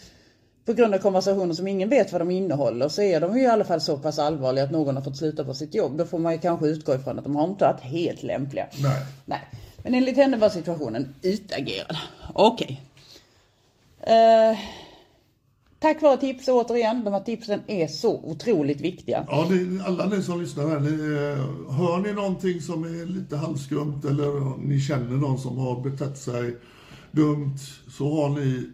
[SPEAKER 1] på grund av konversationer som ingen vet vad de innehåller så är de ju i alla fall så pass allvarliga att någon har fått sluta på sitt jobb. Då får man ju kanske utgå ifrån att de har inte varit helt lämpliga.
[SPEAKER 2] Nej.
[SPEAKER 1] Nej, men enligt henne var situationen utagerad. Okej. Eh, tack vare tips återigen. De här tipsen är så otroligt viktiga.
[SPEAKER 2] Ja, det, alla ni som lyssnar här, ni, eh, hör ni någonting som är lite halvskumt eller ni känner någon som har betett sig dumt så har ni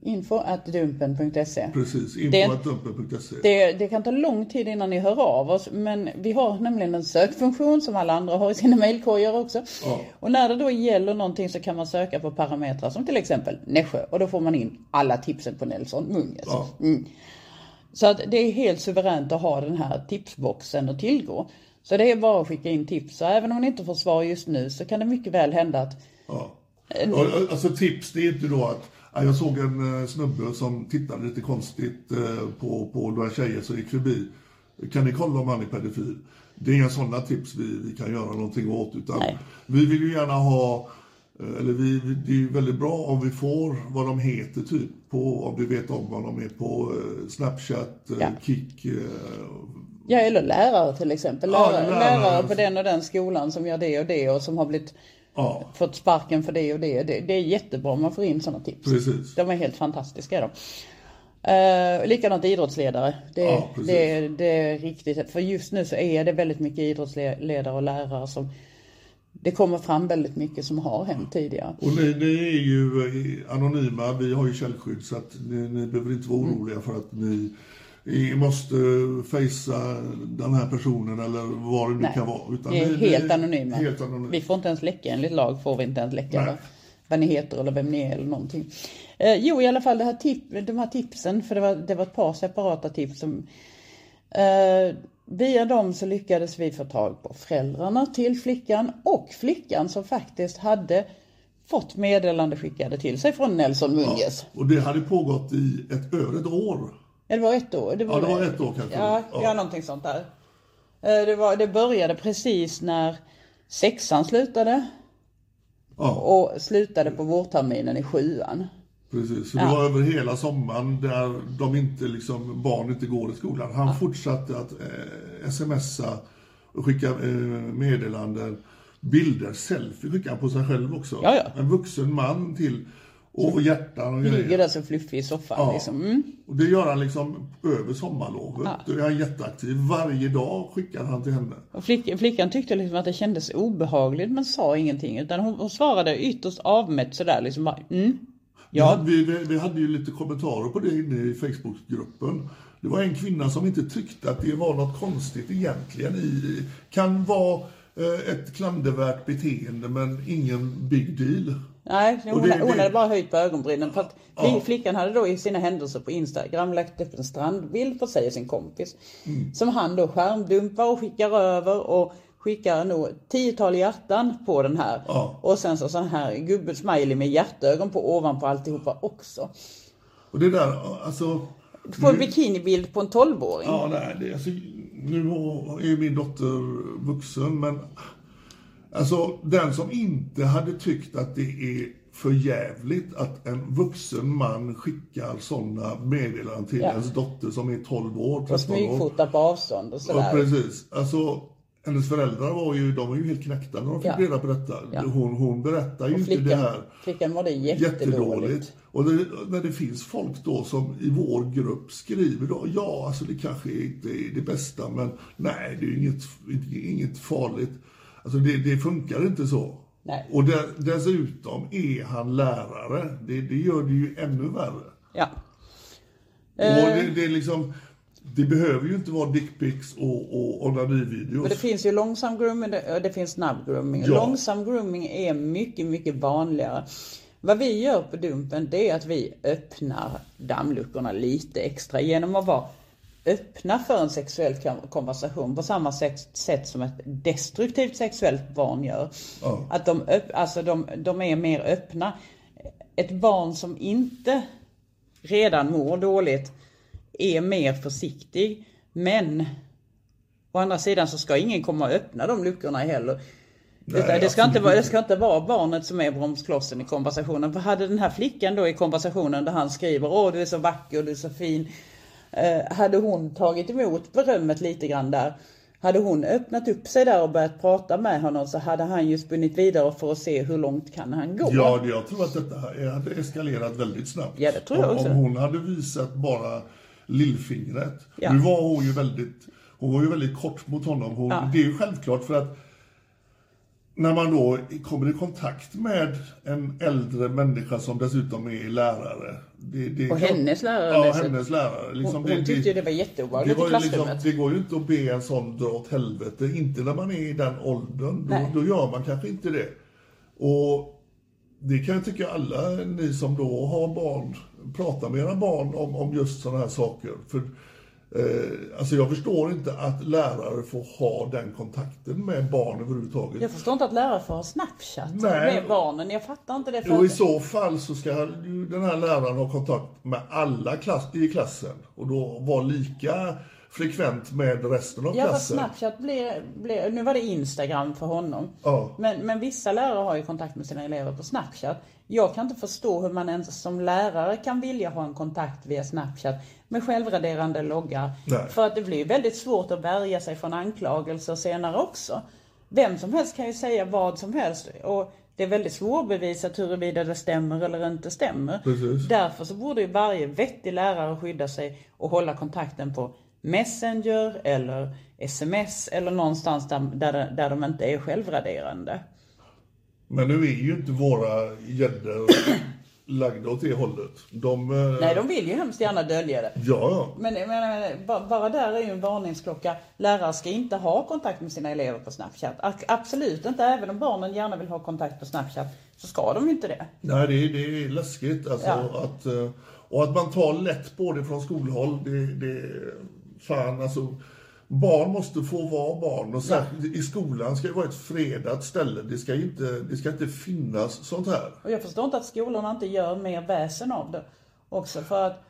[SPEAKER 1] Info at dumpen.se.
[SPEAKER 2] precis
[SPEAKER 1] Det-
[SPEAKER 2] info.dumpen.se.
[SPEAKER 1] Det, det kan ta lång tid innan ni hör av oss men vi har nämligen en sökfunktion som alla andra har i sina mejlkorgar också.
[SPEAKER 2] Ja.
[SPEAKER 1] Och när det då gäller någonting så kan man söka på parametrar som till exempel Nässjö och då får man in alla tipsen på Nelson Munges. Mm.
[SPEAKER 2] Ja.
[SPEAKER 1] Så att det är helt suveränt att ha den här tipsboxen att tillgå. Så det är bara att skicka in tips. Så även om ni inte får svar just nu så kan det mycket väl hända att
[SPEAKER 2] Ja. Och, alltså tips, det är inte då att ja, jag såg en eh, snubbe som tittade lite konstigt eh, på, på några tjejer som gick förbi. Kan ni kolla om han är pedofil? Det är inga sådana tips vi, vi kan göra någonting åt. Utan vi vill ju gärna ha, eh, eller vi, vi- det är ju väldigt bra om vi får vad de heter typ. På, om du vet om vad de är på eh, Snapchat, eh,
[SPEAKER 1] Ja.
[SPEAKER 2] Kik. eh,
[SPEAKER 1] Ja, eller lärare till exempel.
[SPEAKER 2] Ja,
[SPEAKER 1] Lärare,
[SPEAKER 2] lärare.
[SPEAKER 1] lärare på den och den skolan som gör det och det och som har blivit
[SPEAKER 2] Ja.
[SPEAKER 1] fått sparken för det och det. det. Det är jättebra om man får in sådana tips.
[SPEAKER 2] Precis.
[SPEAKER 1] De är helt fantastiska. Då. Uh, likadant idrottsledare. Det,
[SPEAKER 2] Ja, precis.
[SPEAKER 1] det, det är riktigt. För just nu så är det väldigt mycket idrottsledare och lärare som det kommer fram väldigt mycket som har hänt tidigare.
[SPEAKER 2] Och ni, ni är ju eh, anonyma, vi har ju källskydd så att ni, ni behöver inte
[SPEAKER 1] Mm.
[SPEAKER 2] vara oroliga för att ni, ni måste fejsa den här personen eller vad det nu
[SPEAKER 1] Nej,
[SPEAKER 2] kan vara. Utan
[SPEAKER 1] vi är
[SPEAKER 2] ni- ni
[SPEAKER 1] helt anonyma.
[SPEAKER 2] Helt anonyma.
[SPEAKER 1] Vi får inte ens läcka, enligt lag får vi inte ens läcka
[SPEAKER 2] Nej.
[SPEAKER 1] vad, vad ni heter eller vem ni är eller någonting. Eh, jo, i alla fall det här tip, de här tipsen, för det var, det var ett par separata tips som eh, Via dem så lyckades vi få tag på föräldrarna till flickan och flickan som faktiskt hade fått meddelande skickade till sig från Nelson Munges.
[SPEAKER 2] Och det hade pågått i ett, över ett år.
[SPEAKER 1] Ja, det var ett år. Det var,
[SPEAKER 2] Ja, det var ett år kanske.
[SPEAKER 1] Ja, ja.
[SPEAKER 2] Ja.
[SPEAKER 1] någonting sånt där. Eh, Det, var, det började precis när sexan slutade
[SPEAKER 2] Ja,
[SPEAKER 1] och slutade på vårterminen i sjuan.
[SPEAKER 2] precis. Så det
[SPEAKER 1] Ja.
[SPEAKER 2] var över hela sommaren där de inte liksom, barn inte går i skolan. Han fortsatte att eh, smsa och skicka eh, meddelanden, bilder, selfie skickade han på sig själv också.
[SPEAKER 1] Ja, ja.
[SPEAKER 2] En vuxen man till och hjärtan och grejer.
[SPEAKER 1] Ligger där så fluffig i soffan
[SPEAKER 2] Ja.
[SPEAKER 1] liksom. Mm.
[SPEAKER 2] Och det gör han liksom över sommarlovet. Då är han jätteaktiv. Varje dag skickar han till henne.
[SPEAKER 1] Och flick, flickan tyckte liksom att det kändes obehagligt men sa ingenting utan hon, hon svarade ytterst avmätt sådär liksom bara, mm, Ja.
[SPEAKER 2] Vi, vi, vi hade ju lite kommentarer på det inne i Facebookgruppen. Det var en kvinna som inte tyckte att det var något konstigt egentligen. I, kan vara eh, ett klandervärt beteende men ingen big deal.
[SPEAKER 1] Nej, hon,
[SPEAKER 2] Och det-
[SPEAKER 1] hon
[SPEAKER 2] det-
[SPEAKER 1] hade bara höjt på ögonbrynen. För att
[SPEAKER 2] Ja.
[SPEAKER 1] Flickan hade då i sina händelser på Instagram lagt upp en strandbild på sig och sin kompis.
[SPEAKER 2] Mm.
[SPEAKER 1] Som han då skärmdumpar och skickar över och skickar nog ett tiotal hjärtan på den här.
[SPEAKER 2] Ja.
[SPEAKER 1] Och sen så sån här gubbesmiley med hjärtögon på ovanpå alltihopa också.
[SPEAKER 2] Och det där, alltså...
[SPEAKER 1] Du får en
[SPEAKER 2] nu-
[SPEAKER 1] bikinibild på en 12-åring.
[SPEAKER 2] Ja, nej, det, alltså, nu har- är min dotter vuxen, men alltså den som inte hade tyckt att det är för jävligt att en vuxen man skickar sådana meddelanden till
[SPEAKER 1] Ja.
[SPEAKER 2] ens dotter som är 12 år,
[SPEAKER 1] Och
[SPEAKER 2] 13 år.
[SPEAKER 1] smygfota på avstånd och
[SPEAKER 2] Ja,
[SPEAKER 1] sådär.
[SPEAKER 2] precis. Alltså, hennes föräldrar var ju, de var ju helt knäckta när de fick
[SPEAKER 1] Ja.
[SPEAKER 2] reda på detta.
[SPEAKER 1] Ja.
[SPEAKER 2] Hon, hon berättar ju
[SPEAKER 1] Och
[SPEAKER 2] inte det
[SPEAKER 1] flickan,
[SPEAKER 2] här.
[SPEAKER 1] flickan mådde jättedåligt.
[SPEAKER 2] Jättedåligt. Och det, när det finns folk då som i vår grupp skriver då, ja alltså det kanske inte är det bästa men nej det är ju inget, inget farligt. Alltså det, det funkar inte så.
[SPEAKER 1] Nej.
[SPEAKER 2] Och där, dessutom är han lärare. Det, det gör det ju ännu värre.
[SPEAKER 1] Ja.
[SPEAKER 2] Och
[SPEAKER 1] Eh.
[SPEAKER 2] det, det är liksom, det behöver ju inte vara dickpics och, och onanivideos.
[SPEAKER 1] Och det finns ju långsam grooming och det finns snabb grooming.
[SPEAKER 2] Ja.
[SPEAKER 1] Långsam grooming är mycket, mycket vanligare. Vad vi gör på Dumpen det är att vi öppnar dammluckorna lite extra genom att vara öppna för en sexuell kom- konversation på samma sex- sätt som ett destruktivt sexuellt barn gör.
[SPEAKER 2] Ja.
[SPEAKER 1] Att de, öpp- alltså de, de är mer öppna. Ett barn som inte redan mår dåligt är mer försiktig. Men å andra sidan så ska ingen komma och öppna de luckorna heller. Utan det, ska
[SPEAKER 2] absolut
[SPEAKER 1] inte vara, det
[SPEAKER 2] inte.
[SPEAKER 1] ska inte vara barnet som är bromsklossen i konversationen. För hade den här flickan då i konversationen där han skriver Åh du är så vacker, du är så fin. Eh, hade hon tagit emot berömmet lite grann där. Hade hon öppnat upp sig där och börjat prata med honom så hade han ju spunnit vidare för att se hur långt kan han gå.
[SPEAKER 2] Ja, det- jag tror att detta här hade eskalerat väldigt snabbt.
[SPEAKER 1] Ja, det tror jag
[SPEAKER 2] om,
[SPEAKER 1] också.
[SPEAKER 2] Om hon hade visat bara lillfingret.
[SPEAKER 1] Ja.
[SPEAKER 2] Nu var hon ju väldigt, hon var ju väldigt kort mot honom. Hon,
[SPEAKER 1] Ja.
[SPEAKER 2] Det är ju självklart för att när man då kommer i kontakt med en äldre människa som dessutom är lärare. Det, det är
[SPEAKER 1] Och hennes lärare
[SPEAKER 2] Ja,
[SPEAKER 1] dessutom.
[SPEAKER 2] hennes lärare. Liksom
[SPEAKER 1] hon, hon tyckte ju det var jätteobehagligt i
[SPEAKER 2] var ju liksom-
[SPEAKER 1] klassrummet.
[SPEAKER 2] det går ju inte att be en sån dra åt helvete. Inte när man är i den åldern.
[SPEAKER 1] Nej.
[SPEAKER 2] Då, då gör man kanske inte det. Och det kan jag tycka alla ni som då har barn, prata med era barn om, om just sådana här saker. För, eh, alltså jag förstår inte att lärare får ha den kontakten med barn överhuvudtaget.
[SPEAKER 1] Jag förstår inte att lärare får ha Snapchat
[SPEAKER 2] Nej.
[SPEAKER 1] med barnen. Jag fattar inte det. För
[SPEAKER 2] Och i så fall så ska ju den här läraren ha kontakt med alla klass, i klassen och då vara lika frekvent med resten av
[SPEAKER 1] ja, fast
[SPEAKER 2] klassen.
[SPEAKER 1] Snapchat blir, blir... Nu var det Instagram för honom.
[SPEAKER 2] Ja.
[SPEAKER 1] Men, men vissa lärare har ju kontakt med sina elever på Snapchat. Jag kan inte förstå hur man ens som lärare kan vilja ha en kontakt via Snapchat med självraderande loggar.
[SPEAKER 2] Nej.
[SPEAKER 1] För att det blir väldigt svårt att värja sig från anklagelser senare också. Vem som helst kan ju säga vad som helst. Och det är väldigt svårbevisat huruvida det stämmer eller inte stämmer.
[SPEAKER 2] Precis.
[SPEAKER 1] Därför så borde ju varje vettig lärare skydda sig och hålla kontakten på Messenger eller sms eller någonstans där, där, där de inte är självraderande.
[SPEAKER 2] Men nu är ju inte våra gäddor lagda åt det hållet. De... eh,
[SPEAKER 1] Nej, de vill ju hemskt gärna dölja det.
[SPEAKER 2] Ja, ja.
[SPEAKER 1] Men, men, men ba- bara där är ju en varningsklocka. Lärare ska inte ha kontakt med sina elever på Snapchat. A- Absolut inte. Även om barnen gärna vill ha kontakt på Snapchat så ska de ju inte det.
[SPEAKER 2] Nej, det, är- det är läskigt alltså
[SPEAKER 1] Ja.
[SPEAKER 2] att... eh, Och att man tar lätt på det från skolhåll, det... det fan alltså. Barn måste få vara barn och särskilt i skolan ska det vara ett fredat ställe. Det ska, ju inte, det ska inte finnas sånt här.
[SPEAKER 1] Och jag förstår inte att skolorna inte gör mer väsen av det också. För att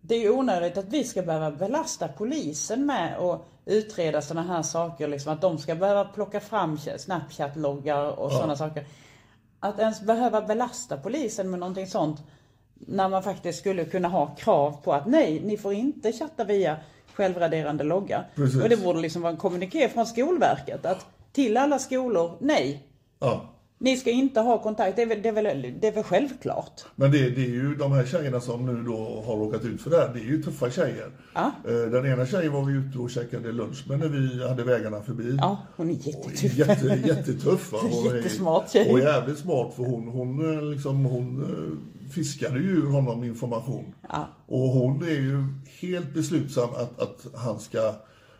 [SPEAKER 1] det är ju onödigt att vi ska behöva belasta polisen med att utreda sådana här saker. Liksom, att de ska behöva plocka fram Snapchat-loggar och sådana saker. Att ens behöva belasta polisen med någonting sånt. När man faktiskt skulle kunna ha krav på att nej, ni får inte chatta via självraderande loggar.
[SPEAKER 2] Precis.
[SPEAKER 1] Och det borde liksom vara en kommuniké från Skolverket. Att till alla skolor, nej,
[SPEAKER 2] Ja.
[SPEAKER 1] ni ska inte ha kontakt, det är väl, det är väl, det är väl självklart?
[SPEAKER 2] Men det, det är ju de här tjejerna som nu då har råkat ut för det här, det är ju tuffa tjejer.
[SPEAKER 1] Ja.
[SPEAKER 2] Eh, Den ena tjejen var vi ute och käkade lunch med när vi hade vägarna förbi.
[SPEAKER 1] Ja, hon är
[SPEAKER 2] Och
[SPEAKER 1] jättetuff.
[SPEAKER 2] Jätte, jättetuff. va? Hon är-
[SPEAKER 1] Typ. Jättesmart tjej.
[SPEAKER 2] Och jävligt smart för hon, hon, eh, liksom, hon eh, fiskade ju ur honom information. Och hon är ju helt beslutsam att, att han ska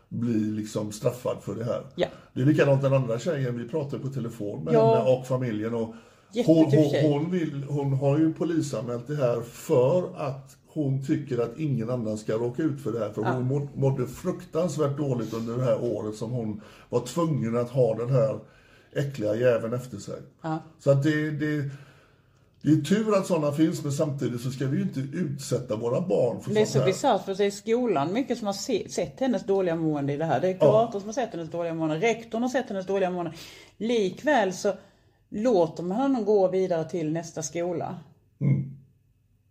[SPEAKER 2] bli liksom straffad för det här.
[SPEAKER 1] Ja.
[SPEAKER 2] Det är likadant den andra tjejen, vi pratade på telefon med
[SPEAKER 1] Ja.
[SPEAKER 2] henne och familjen. Och hon,
[SPEAKER 1] Jättetur
[SPEAKER 2] hon,
[SPEAKER 1] tjej.
[SPEAKER 2] hon, vill, hon har ju polisanmält det här för att hon tycker att ingen annan ska råka ut för det här. För hon må- mådde fruktansvärt dåligt under det här året som hon var tvungen att ha den här äckliga jäveln efter sig. Så att det, det, det är tur att sådana finns, men samtidigt så ska vi ju inte utsätta våra barn för
[SPEAKER 1] Det är
[SPEAKER 2] sånt
[SPEAKER 1] så
[SPEAKER 2] här.
[SPEAKER 1] bisarrt för det är skolan mycket som har se, sett hennes dåliga mående i det här. Det är kuratorn som har sett hennes dåliga mående, rektorn har sett hennes dåliga mående. Likväl så låter man honom gå vidare till nästa skola.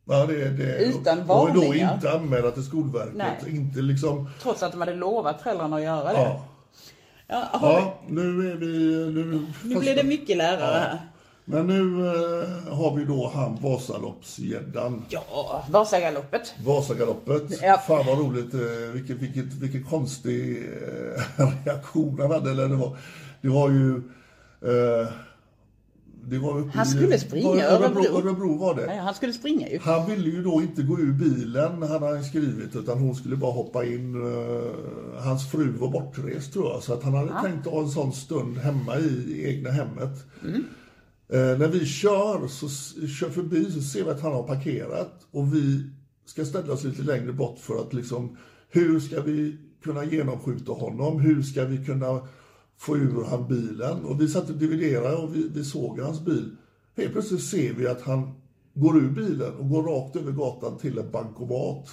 [SPEAKER 2] Ja, det, det,
[SPEAKER 1] Utan
[SPEAKER 2] Och då
[SPEAKER 1] varningar.
[SPEAKER 2] inte anmäla till Skolverket.
[SPEAKER 1] Nej.
[SPEAKER 2] Inte liksom...
[SPEAKER 1] Trots att de hade lovat föräldrarna att göra det.
[SPEAKER 2] Ja.
[SPEAKER 1] Ja, har vi-
[SPEAKER 2] ja, nu är vi... Nu,
[SPEAKER 1] nu blir det mycket lärare här.
[SPEAKER 2] Men nu eh, har vi då han Vasaloppsgäddan.
[SPEAKER 1] Ja, Vasagaloppet.
[SPEAKER 2] Vasagaloppet.
[SPEAKER 1] Ja.
[SPEAKER 2] Fan vad roligt. eh, Vilken, vilket, vilken konstig eh, reaktion han hade. Eller det, var, det var ju... Eh, det var uppe
[SPEAKER 1] Han
[SPEAKER 2] i-
[SPEAKER 1] skulle springa
[SPEAKER 2] var-
[SPEAKER 1] Örebro.
[SPEAKER 2] Örebro. Örebro var det.
[SPEAKER 1] Ja, Han skulle springa ju.
[SPEAKER 2] Han ville ju då inte gå ur bilen, hade han skrivit, utan hon skulle bara hoppa in. Eh, Hans fru var bortrest tror jag, så att han hade tänkt ha en sån stund hemma i egna hemmet. Eh, när vi kör, så s- kör förbi så ser vi att han har parkerat och vi ska ställa oss lite längre bort för att liksom, hur ska vi kunna genomskjuta honom? Hur ska vi kunna få ur han bilen? Och vi satt och dividerade och vi, vi såg hans bil. Helt plötsligt ser vi att han går ur bilen och går rakt över gatan till en bankomat.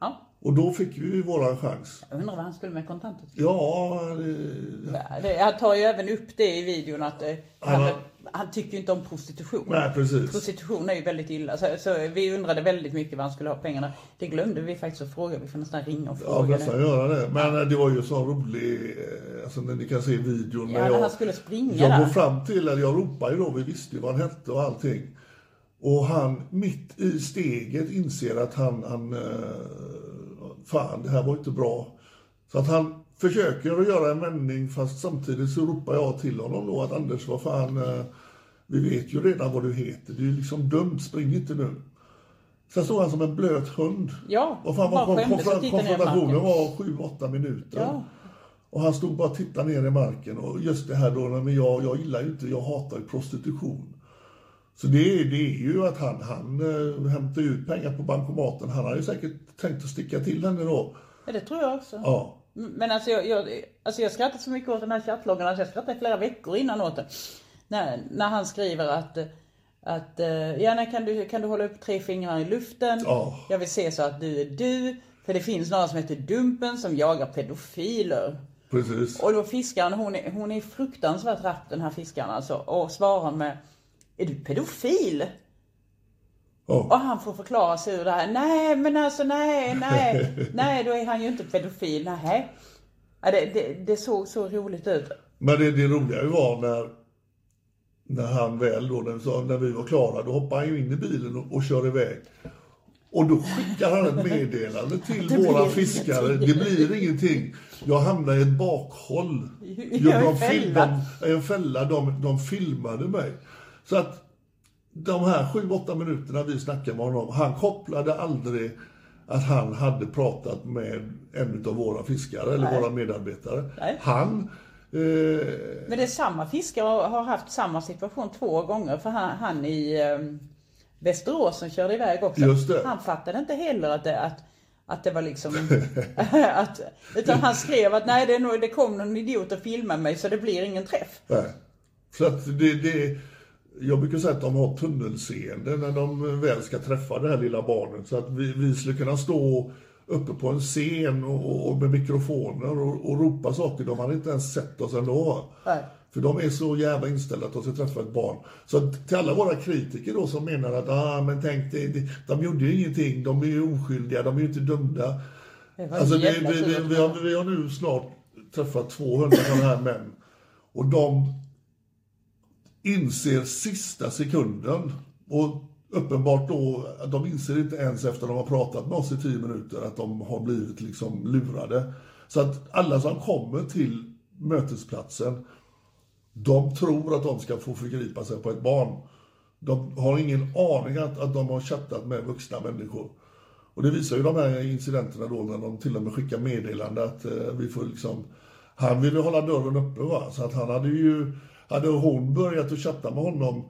[SPEAKER 1] Ja.
[SPEAKER 2] Och då fick vi ju våran chans.
[SPEAKER 1] Jag undrar vad han skulle med kontanter till.
[SPEAKER 2] Ja, eh, det...
[SPEAKER 1] Det- Han tar ju även upp det i videon att eh, han,
[SPEAKER 2] Ja.
[SPEAKER 1] han tycker ju inte om prostitution.
[SPEAKER 2] nej precis.
[SPEAKER 1] Prostitution är ju väldigt illa, så, så vi undrade väldigt mycket vad han skulle ha pengarna. Det glömde vi faktiskt att fråga, vi får nästan ringa och
[SPEAKER 2] Ja,
[SPEAKER 1] fråga
[SPEAKER 2] nästan
[SPEAKER 1] det.
[SPEAKER 2] göra det. Men eh, det var ju så rolig, eh, alltså när ni kan se videon.
[SPEAKER 1] Ja, när han skulle springa
[SPEAKER 2] jag
[SPEAKER 1] där.
[SPEAKER 2] går fram till, eller jag ropar ju då, vi visste ju vad han hette och allting. Och han mitt i steget inser att han, han eh, fan det här var inte bra. Så att han försöker att göra en vändning fast samtidigt så ropar jag till honom då att Anders vad fan, eh, vi vet ju redan vad du heter. Det är ju liksom dumt, spring inte nu. Sen står han som en blöt hund.
[SPEAKER 1] Ja,
[SPEAKER 2] Vad fan, vad,
[SPEAKER 1] bara
[SPEAKER 2] vad,
[SPEAKER 1] skämdes och tittade ner i
[SPEAKER 2] konfrontationen
[SPEAKER 1] marken.
[SPEAKER 2] var 7-8 minuter.
[SPEAKER 1] Ja.
[SPEAKER 2] Och han stod bara och tittade ner i marken. Och just det här då, nej, men jag, jag gillar ju inte, jag hatar ju prostitution. Så det, är- det är ju att han, han eh, hämtar ut pengar på bankomaten. Han hade ju säkert tänkt att sticka till henne då.
[SPEAKER 1] Ja, det tror jag också.
[SPEAKER 2] Ja.
[SPEAKER 1] Mm, Men alltså jag, jag, alltså jag skrattade så mycket åt den här chattloggen, alltså jag skrattade flera veckor innan åt den. När, när han skriver att, eh, att eh, ja, nej, kan, du, kan du hålla upp tre fingrar i luften?
[SPEAKER 2] Ja.
[SPEAKER 1] Jag vill se så att du är du. För det finns några som heter Dumpen som jagar pedofiler.
[SPEAKER 2] Precis.
[SPEAKER 1] Och då fiskaren, hon är, hon är fruktansvärt rapp den här fiskaren alltså. Och svarar med Är du pedofil? Och
[SPEAKER 2] Ja.
[SPEAKER 1] han får förklara sig ur det här. Nej men alltså nej, nej, nej då är han ju inte pedofil, nej. Ja, det, det, det såg så roligt ut.
[SPEAKER 2] Men det, det roliga ju var när, när han väl då, när, vi sa- när vi var klara, då hoppar han ju in i bilen och, och kör iväg. Och då skickar han ett meddelande till våra
[SPEAKER 1] blir
[SPEAKER 2] fiskare.
[SPEAKER 1] ingenting.
[SPEAKER 2] Det blir ingenting. Jag hamnar i ett bakhåll.
[SPEAKER 1] Jag är
[SPEAKER 2] de fil-
[SPEAKER 1] fälla.
[SPEAKER 2] De, en fälla. De, de filmade mig. Så att de här 7-8 minuterna vi snackade med honom, han kopplade aldrig att han hade pratat med en av våra fiskare eller våra medarbetare.
[SPEAKER 1] Nej.
[SPEAKER 2] Han eh,
[SPEAKER 1] Men det är samma fiskare och har haft samma situation två gånger. För han, han i ehm, Västerås som körde iväg också.
[SPEAKER 2] Just det.
[SPEAKER 1] Han fattade inte heller att det, att, att det var liksom... att, utan han skrev att nej det, är nog, det kom någon idiot och filmade mig så det blir ingen träff.
[SPEAKER 2] Nej. Så att det, det, jag brukar säga att de har tunnelseende när de väl ska träffa det här lilla barnet. Så att vi, vi skulle kunna stå uppe på en scen och, och med mikrofoner och, och ropa saker. De hade inte ens sett oss ändå.
[SPEAKER 1] Nej.
[SPEAKER 2] För de är så jävla inställda att de ska träffa ett barn. Så att till alla våra kritiker då som menar att ah, men tänk, det, det, de gjorde ju ingenting, de är ju oskyldiga, de är ju inte dömda.
[SPEAKER 1] Det var
[SPEAKER 2] Alltså,
[SPEAKER 1] en
[SPEAKER 2] vi,
[SPEAKER 1] jävla
[SPEAKER 2] vi, vi,
[SPEAKER 1] tur att-
[SPEAKER 2] vi, har, vi har nu snart träffat 200 sådana här män. Och de inser sista sekunden. Och uppenbart då, att de inser inte ens efter de har pratat med oss i 10 minuter att de har blivit liksom lurade. Så att alla som kommer till mötesplatsen, de tror att de ska få förgripa sig på ett barn. De har ingen aning att, att de har chattat med vuxna människor. Och det visar ju de här incidenterna då när de till och med skickar meddelande att eh, vi får liksom... Han ville hålla dörren uppe va, så att han hade ju... Hade hon börjat att chatta med honom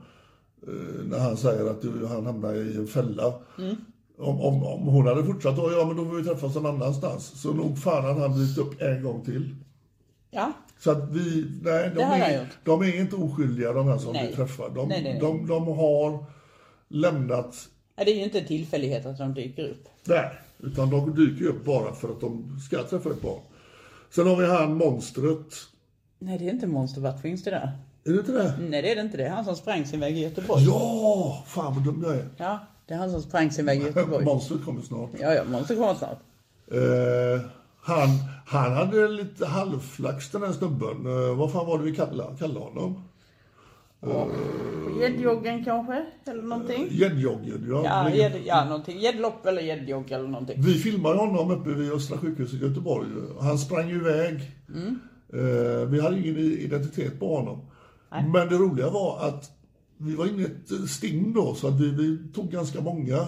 [SPEAKER 2] eh, när han säger att du, han hamnar i en fälla.
[SPEAKER 1] Mm.
[SPEAKER 2] Om, om, om hon hade fortsatt då, ja men då får vi träffas någon annanstans. Så nog fan hade han blivit upp en gång till.
[SPEAKER 1] Ja,
[SPEAKER 2] Så att vi, nej, de,
[SPEAKER 1] Det hade han
[SPEAKER 2] är,
[SPEAKER 1] gjort.
[SPEAKER 2] de är inte oskyldiga de här som
[SPEAKER 1] Nej.
[SPEAKER 2] vi träffar. De,
[SPEAKER 1] Nej, nej, nej.
[SPEAKER 2] De, de har lämnat
[SPEAKER 1] Ja, det är ju inte en tillfällighet att de dyker upp.
[SPEAKER 2] där. Utan de dyker ju upp bara för att de ska träffa ett barn. Sen har vi han monstret.
[SPEAKER 1] Nej, det är inte Monster finns det där.
[SPEAKER 2] Är det inte det?
[SPEAKER 1] Nej, det är det inte. Det är han som sprang sin väg i Göteborg.
[SPEAKER 2] Ja! Fan vad dum jag är.
[SPEAKER 1] Ja, det är han som sprang sin väg i Göteborg.
[SPEAKER 2] Monstret kommer snart.
[SPEAKER 1] Ja, ja, Monster kommer snart.
[SPEAKER 2] Eh, han, han hade lite halvflax den här snubben. Eh, vad fan var det vi kallade, kallade honom?
[SPEAKER 1] Gäddjoggen kanske, eller någonting?
[SPEAKER 2] Gäddjoggen, ja.
[SPEAKER 1] Ja,
[SPEAKER 2] Men-
[SPEAKER 1] gädd, ja någonting. Gäddlopp eller gäddjogg eller någonting.
[SPEAKER 2] Vi filmade honom uppe vid Östra sjukhuset i Göteborg. Han sprang ju iväg. Eh, vi hade ingen identitet på honom. Men det roliga var att vi var inne i ett sting då, så att vi, vi tog ganska många.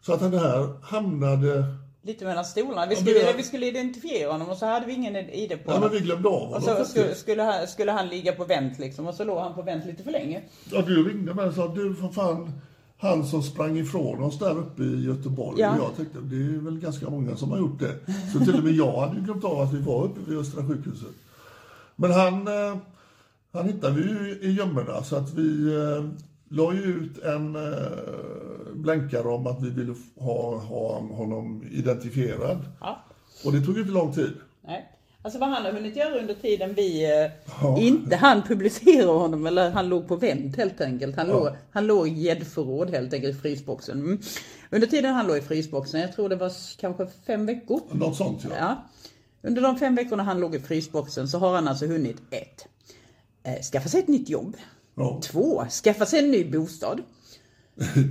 [SPEAKER 2] Så att den här hamnade...
[SPEAKER 1] Lite mellan stolarna. Vi
[SPEAKER 2] Ja,
[SPEAKER 1] skulle,
[SPEAKER 2] men jag-
[SPEAKER 1] vi skulle identifiera honom och så hade vi ingen ID på
[SPEAKER 2] Ja, men
[SPEAKER 1] honom.
[SPEAKER 2] vi glömde av honom
[SPEAKER 1] Och så alltså, skulle,
[SPEAKER 2] faktiskt.
[SPEAKER 1] skulle, han, skulle han ligga på vänt liksom och så låg han på vänt lite för länge.
[SPEAKER 2] Ja, du ringde mig och sa, du för fan, han som sprang ifrån oss där uppe i Göteborg.
[SPEAKER 1] Ja.
[SPEAKER 2] Och Jag tänkte, det är väl ganska många som har gjort det. Så till och med jag hade ju glömt av att vi var uppe vid Östra sjukhuset. Men han, eh, han hittade vi ju i gömmorna så att vi eh, la ju ut en eh, blänkare om att vi ville f- ha, ha honom identifierad.
[SPEAKER 1] Ja.
[SPEAKER 2] Och det tog ju inte lång tid.
[SPEAKER 1] Nej. Alltså vad han har hunnit göra under tiden vi eh, inte han publicerar honom eller han låg på vänt helt enkelt. Han låg, han låg i gäddförråd helt enkelt i frysboxen. Mm. Under tiden han låg i frysboxen, jag tror det var s- kanske fem veckor.
[SPEAKER 2] Något sånt ja.
[SPEAKER 1] Ja. Under de fem veckorna han låg i frysboxen så har han alltså hunnit ett, eh, Skaffa sig ett nytt jobb.
[SPEAKER 2] ja.
[SPEAKER 1] Två, Skaffa sig en ny bostad.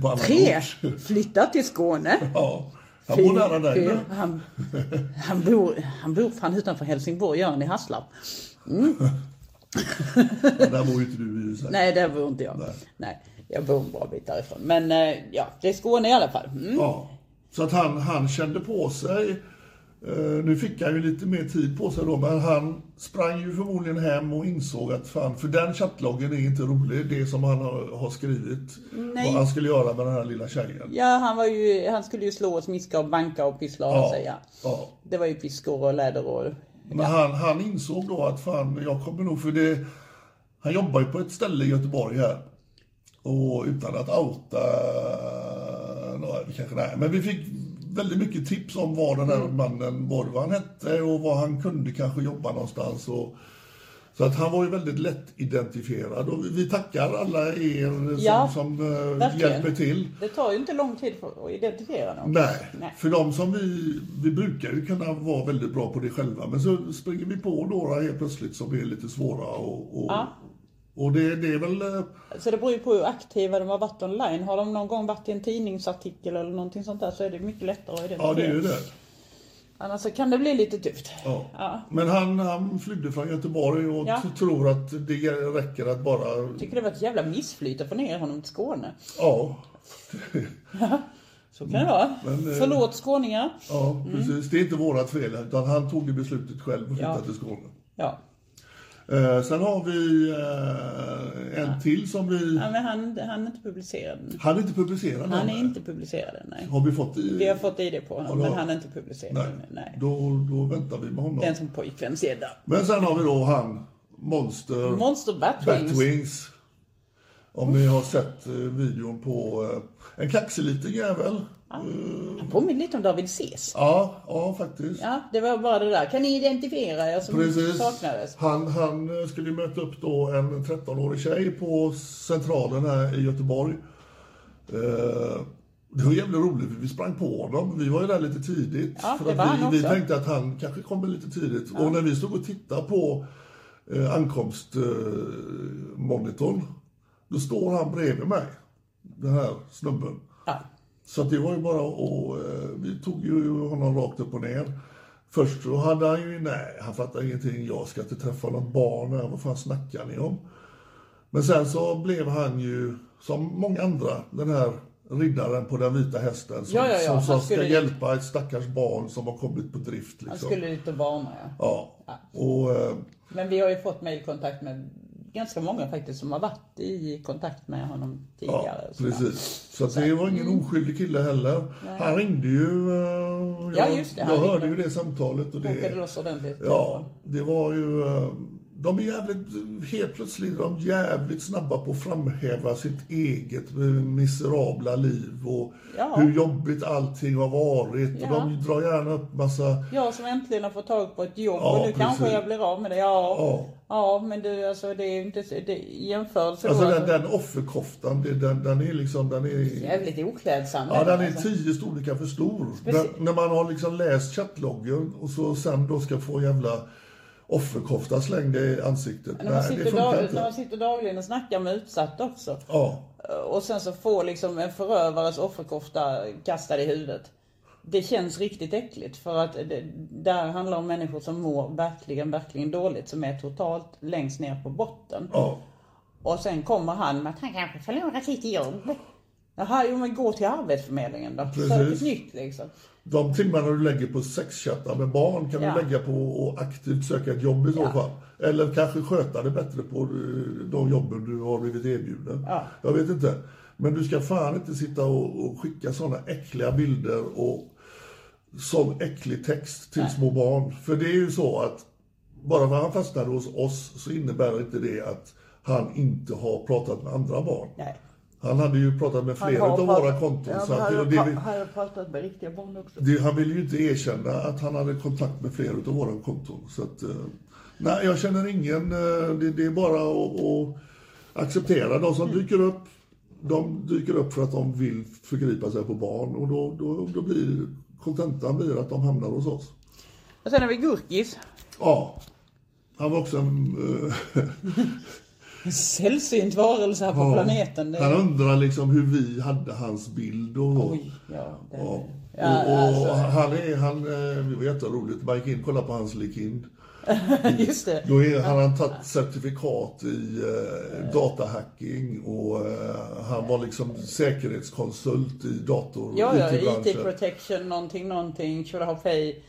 [SPEAKER 2] På annan
[SPEAKER 1] Tre,
[SPEAKER 2] ort.
[SPEAKER 1] Flytta till Skåne.
[SPEAKER 2] Ja. Han bor nära dig
[SPEAKER 1] Fyra,
[SPEAKER 2] nu.
[SPEAKER 1] han, han, bor, han bor fan utanför Helsingborg, gör han i Hasslarp.
[SPEAKER 2] Men Där bor ju inte du i sig.
[SPEAKER 1] Nej, där bor inte jag. Nej. jag bor en bra bit därifrån. Men eh, ja, det är Skåne i alla fall. Mm.
[SPEAKER 2] Ja. Så att han, han kände på sig. Eh, nu fick han ju lite mer tid på sig då, men han sprang ju förmodligen hem och insåg att fan, för den chattloggen är inte rolig, det som han har, har skrivit. Vad han skulle göra med den här lilla tjejen.
[SPEAKER 1] Ja, han, var ju, han skulle ju slå och smiska och banka och pyssla och ja. säga.
[SPEAKER 2] ja.
[SPEAKER 1] Det var ju piskor och läder och...
[SPEAKER 2] Men han, han insåg då att fan, jag kommer nog för det... Han jobbar ju på ett ställe i Göteborg här. Och utan att outa... Nej, vi kanske nej. Men vi fick väldigt mycket tips om var den här
[SPEAKER 1] Mm.
[SPEAKER 2] mannen, både vad han hette och var han kunde kanske jobba någonstans. Och, så att han var ju väldigt lätt identifierad. Och vi, vi tackar alla er som,
[SPEAKER 1] Ja,
[SPEAKER 2] som eh,
[SPEAKER 1] verkligen.
[SPEAKER 2] hjälper till.
[SPEAKER 1] Det tar ju inte lång tid för att identifiera någon.
[SPEAKER 2] Nej,
[SPEAKER 1] Nej.
[SPEAKER 2] för de som vi, vi brukar ju kunna vara väldigt bra på det själva, men så springer vi på några helt plötsligt som är lite svåra och, och, och det, det är väl, eh,
[SPEAKER 1] Så det beror ju på hur aktiva de har varit online. Har de någon gång varit i en tidningsartikel eller någonting sånt där så är det mycket lättare att identifiera.
[SPEAKER 2] ja det är ju det.
[SPEAKER 1] Annars så kan det bli lite tufft.
[SPEAKER 2] Ja. Men han, han flydde från Göteborg och
[SPEAKER 1] Ja.
[SPEAKER 2] t- tror att det räcker att bara,
[SPEAKER 1] Jag tycker det var ett jävla missflyt att få ner honom till Skåne.
[SPEAKER 2] ja,
[SPEAKER 1] Så kan det
[SPEAKER 2] Mm.
[SPEAKER 1] vara.
[SPEAKER 2] eh,
[SPEAKER 1] Förlåt skåningar.
[SPEAKER 2] ja precis. Det är inte vårat fel, utan han tog ju beslutet själv att flytta
[SPEAKER 1] Mm. Ja.
[SPEAKER 2] till Skåne.
[SPEAKER 1] Ja.
[SPEAKER 2] Eh, sen har vi eh, en till som vi,
[SPEAKER 1] ja men han, han är inte publicerad. än.
[SPEAKER 2] han är inte publicerad
[SPEAKER 1] Han
[SPEAKER 2] än.
[SPEAKER 1] är inte publicerad än, nej.
[SPEAKER 2] Har vi fått i?
[SPEAKER 1] Vi har fått ID på
[SPEAKER 2] Ja,
[SPEAKER 1] honom
[SPEAKER 2] då-
[SPEAKER 1] men han är inte publicerad
[SPEAKER 2] Nej,
[SPEAKER 1] än, nej.
[SPEAKER 2] Då, då väntar vi med honom.
[SPEAKER 1] Den som pojkvänssedda.
[SPEAKER 2] Men sen har vi då han, Monster,
[SPEAKER 1] Monster Batwings.
[SPEAKER 2] Batwings. Om ni har sett eh, videon på eh, en kaxig liten jävel.
[SPEAKER 1] Han påminner lite om David Sees.
[SPEAKER 2] Ja, ja faktiskt.
[SPEAKER 1] Ja, det var bara det där. Kan ni identifiera er som
[SPEAKER 2] Precis.
[SPEAKER 1] saknades?
[SPEAKER 2] Han, han eh, skulle ju möta upp då en 13-årig tjej på Centralen här i Göteborg. Eh, Det var jävligt roligt, för vi sprang på honom. Vi var ju där lite tidigt.
[SPEAKER 1] Ja,
[SPEAKER 2] för
[SPEAKER 1] det
[SPEAKER 2] att
[SPEAKER 1] var
[SPEAKER 2] vi,
[SPEAKER 1] han
[SPEAKER 2] vi
[SPEAKER 1] också.
[SPEAKER 2] tänkte att han kanske kommer lite tidigt. Och när vi stod och tittade på eh, ankomstmonitorn, eh, då står han bredvid mig, den här snubben.
[SPEAKER 1] Ja.
[SPEAKER 2] Så att det var ju bara och eh, vi tog ju honom rakt upp och ner. Först så hade han ju, nej, han fattade ingenting. Jag ska inte träffa något barn här, vad fan snackar ni om? Men sen så blev han ju, som många andra, den här riddaren på den vita hästen som,
[SPEAKER 1] Ja, ja, ja.
[SPEAKER 2] som, som
[SPEAKER 1] Han
[SPEAKER 2] ska
[SPEAKER 1] skulle-
[SPEAKER 2] hjälpa ett stackars barn som har kommit på drift.
[SPEAKER 1] Han
[SPEAKER 2] Liksom.
[SPEAKER 1] skulle ut och varna ja.
[SPEAKER 2] Ja. Och, eh,
[SPEAKER 1] Men vi har ju fått mejlkontakt med ganska många faktiskt som har varit i kontakt med honom
[SPEAKER 2] ja,
[SPEAKER 1] tidigare. och sådär.
[SPEAKER 2] precis. Så att det var ingen
[SPEAKER 1] Mm.
[SPEAKER 2] oskyldig kille heller. Han ringde ju... eh,
[SPEAKER 1] Ja,
[SPEAKER 2] jag,
[SPEAKER 1] just det, han
[SPEAKER 2] Jag
[SPEAKER 1] ringde.
[SPEAKER 2] hörde ju det samtalet. Och
[SPEAKER 1] Kokade
[SPEAKER 2] det,
[SPEAKER 1] loss ordentligt.
[SPEAKER 2] ja, det var ju... eh, De är jävligt, helt plötsligt, är de jävligt snabba på att framhäva sitt eget eh, miserabla liv och
[SPEAKER 1] Ja.
[SPEAKER 2] hur jobbigt allting har varit.
[SPEAKER 1] Ja.
[SPEAKER 2] Och de drar gärna upp massa
[SPEAKER 1] Jag som äntligen har fått tag på ett jobb
[SPEAKER 2] Ja,
[SPEAKER 1] och nu kanske
[SPEAKER 2] precis.
[SPEAKER 1] jag blir av med det. Ja,
[SPEAKER 2] Ja.
[SPEAKER 1] ja. men du alltså det är ju inte så- det, i jämförelse
[SPEAKER 2] Alltså
[SPEAKER 1] då.
[SPEAKER 2] den,
[SPEAKER 1] Alltså,
[SPEAKER 2] den offerkoftan, det- den, den är liksom, den är...
[SPEAKER 1] jävligt oklädsam.
[SPEAKER 2] Ja, den är typ-
[SPEAKER 1] alltså.
[SPEAKER 2] tio storlekar för stor. När, när man har liksom läst chattloggen och så sen då ska få jävla offerkofta slängd i ansiktet.
[SPEAKER 1] när, man
[SPEAKER 2] Nej, det
[SPEAKER 1] sitter
[SPEAKER 2] funkar
[SPEAKER 1] dag, när man
[SPEAKER 2] inte.
[SPEAKER 1] sitter dagligen och snackar med utsatta också.
[SPEAKER 2] Ja,
[SPEAKER 1] Eh, Och sen så får liksom en förövares offerkofta kastad i huvudet. Det känns riktigt äckligt för att det, där handlar om människor som mår verkligen, verkligen dåligt. Som är totalt längst ner på botten.
[SPEAKER 2] ja.
[SPEAKER 1] Och sen kommer han med att han kanske förlorar sitt jobb. Jaha, jo men gå till Arbetsförmedlingen då. Sök
[SPEAKER 2] Precis.
[SPEAKER 1] ett nytt liksom.
[SPEAKER 2] De timmarna du lägger på sexchattar med barn kan
[SPEAKER 1] Ja.
[SPEAKER 2] du lägga på att aktivt söka ett jobb i så
[SPEAKER 1] Ja.
[SPEAKER 2] fall. Eller kanske sköta det bättre på eh, de jobben du har blivit erbjuden.
[SPEAKER 1] Ja.
[SPEAKER 2] Jag vet inte. Men du ska fan inte sitta och, och skicka sådana äckliga bilder och sån äcklig text till små barn. För det är ju så att bara för att han fastnade hos oss så innebär inte det att han inte har pratat med andra barn.
[SPEAKER 1] Nej.
[SPEAKER 2] Han hade ju pratat med flera av våra konton.
[SPEAKER 1] Ja,
[SPEAKER 2] så
[SPEAKER 1] men
[SPEAKER 2] att-
[SPEAKER 1] han
[SPEAKER 2] och
[SPEAKER 1] har,
[SPEAKER 2] det-
[SPEAKER 1] pra- han har pratat med riktiga barn också.
[SPEAKER 2] det, han ville ju inte erkänna att han hade kontakt med flera av våra konton. Så att, eh, nej, jag känner ingen. Eh, det, det är bara att, att acceptera. De
[SPEAKER 1] Mm.
[SPEAKER 2] som dyker upp, de dyker upp för att de vill förgripa sig på barn. Och då, då, då blir kontentan blir att de hamnar hos oss.
[SPEAKER 1] Och sen har vi Gurkis.
[SPEAKER 2] Ja, han var också en... eh,
[SPEAKER 1] En sällsynt varelse här på planeten. Det
[SPEAKER 2] Han undrar liksom hur vi hade hans bild och...
[SPEAKER 1] Oj, ja. Det...
[SPEAKER 2] Ja.
[SPEAKER 1] Ja,
[SPEAKER 2] och, och,
[SPEAKER 1] alltså.
[SPEAKER 2] han är, han, eh, det var jätteroligt. Man gick in och kollade på hans LinkedIn.
[SPEAKER 1] Just det.
[SPEAKER 2] Då är, han har tagit certifikat i eh, datahacking och eh, han var liksom säkerhetskonsult i dator och
[SPEAKER 1] Ja, ja, IT
[SPEAKER 2] IT-branschen.
[SPEAKER 1] protection, någonting, någonting, Tjolahopp Hej.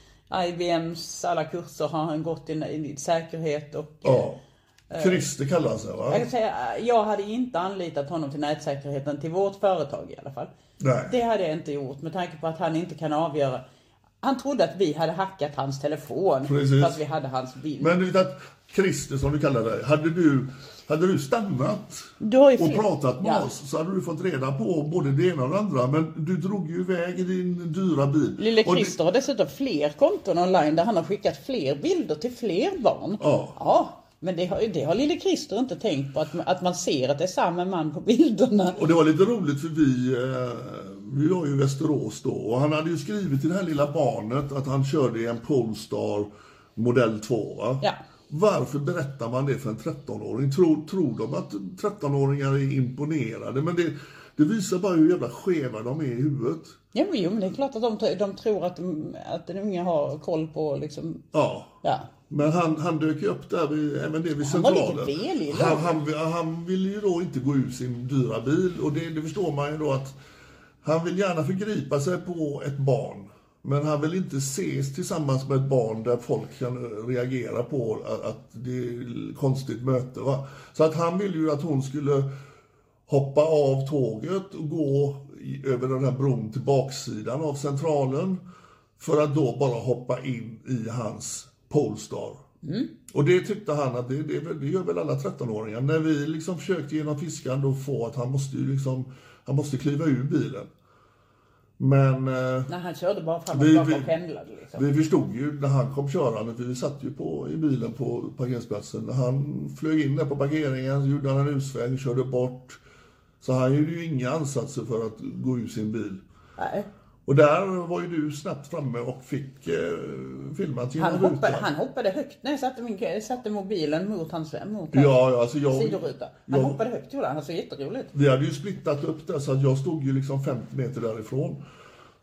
[SPEAKER 1] IBMs alla kurser har han gått i, i säkerhet och...
[SPEAKER 2] Ja.
[SPEAKER 1] Eh.
[SPEAKER 2] Christer kallar han sig va?
[SPEAKER 1] Jag kan säga, jag hade inte anlitat honom till nätsäkerheten till vårt företag i alla fall.
[SPEAKER 2] Nej.
[SPEAKER 1] Det hade jag inte gjort med tanke på att han inte kan avgöra. Han trodde att vi hade hackat hans telefon
[SPEAKER 2] Precis.
[SPEAKER 1] för att vi hade hans bild.
[SPEAKER 2] Men du vet att Christer som du kallar dig, hade du, hade du stannat
[SPEAKER 1] Du har ju
[SPEAKER 2] och
[SPEAKER 1] fel.
[SPEAKER 2] pratat med
[SPEAKER 1] Ja.
[SPEAKER 2] oss så hade du fått reda på både det ena och det andra. Men du drog ju iväg i din dyra bil.
[SPEAKER 1] Lille
[SPEAKER 2] Och det-
[SPEAKER 1] Christer har dessutom fler konton online där han har skickat fler bilder till fler barn.
[SPEAKER 2] Ja.
[SPEAKER 1] men det har, det har lille Christer inte tänkt på, att, att man ser att det är samma man på bilderna.
[SPEAKER 2] Och det var lite roligt för vi, eh, vi var ju i Västerås då och han hade ju skrivit till det här lilla barnet att han körde i en Polestar modell 2. Va?
[SPEAKER 1] Ja.
[SPEAKER 2] Varför berättar man det för en 13-åring? Tror, tror de att 13-åringar är imponerade? Men det, det visar bara hur jävla skeva de är i huvudet.
[SPEAKER 1] Ja, men, jo, men det är klart att de, de tror att, de, att den unge har koll på liksom,
[SPEAKER 2] Ja.
[SPEAKER 1] ja.
[SPEAKER 2] Men han, han dök ju upp där vid, även det vid
[SPEAKER 1] Han var
[SPEAKER 2] centralen.
[SPEAKER 1] lite velig i
[SPEAKER 2] han, han, han ville ju då inte gå ur sin dyra bil och det, det förstår man ju då att han vill gärna förgripa sig på ett barn. Men han vill inte ses tillsammans med ett barn där folk kan reagera på att- att det är ett konstigt möte. Va? Så att han ville ju att hon skulle hoppa av tåget och gå i, över den här bron till baksidan av centralen. För att då bara hoppa in i hans Polestar. Och det tyckte han att det, det, det gör väl alla 13-åringar. När vi liksom försökte genom fiskan då få att han måste ju liksom, han måste kliva ur bilen. Men eh,
[SPEAKER 1] Nej, han körde bara fram och
[SPEAKER 2] Vi-
[SPEAKER 1] tillbaka
[SPEAKER 2] vi-
[SPEAKER 1] och pendlade liksom.
[SPEAKER 2] vi förstod ju när han kom körande, för vi satt ju på, i bilen på parkeringsplatsen. När Han flög in där på parkeringen, gjorde han en utsväng, körde bort. Så han gjorde ju inga ansatser för att gå ur sin bil.
[SPEAKER 1] Nej.
[SPEAKER 2] Och där var ju du snabbt framme och fick eh, filmat genom
[SPEAKER 1] Han hoppade,
[SPEAKER 2] rutan.
[SPEAKER 1] han hoppade högt när jag satte, min, jag satte mobilen mot hans, mot hans
[SPEAKER 2] Ja, ja, alltså jag,
[SPEAKER 1] sidoruta. Han
[SPEAKER 2] jag,
[SPEAKER 1] hoppade högt gjorde han, alltså jätteroligt.
[SPEAKER 2] Vi hade ju splittat upp det så att jag stod ju liksom 50 meter därifrån.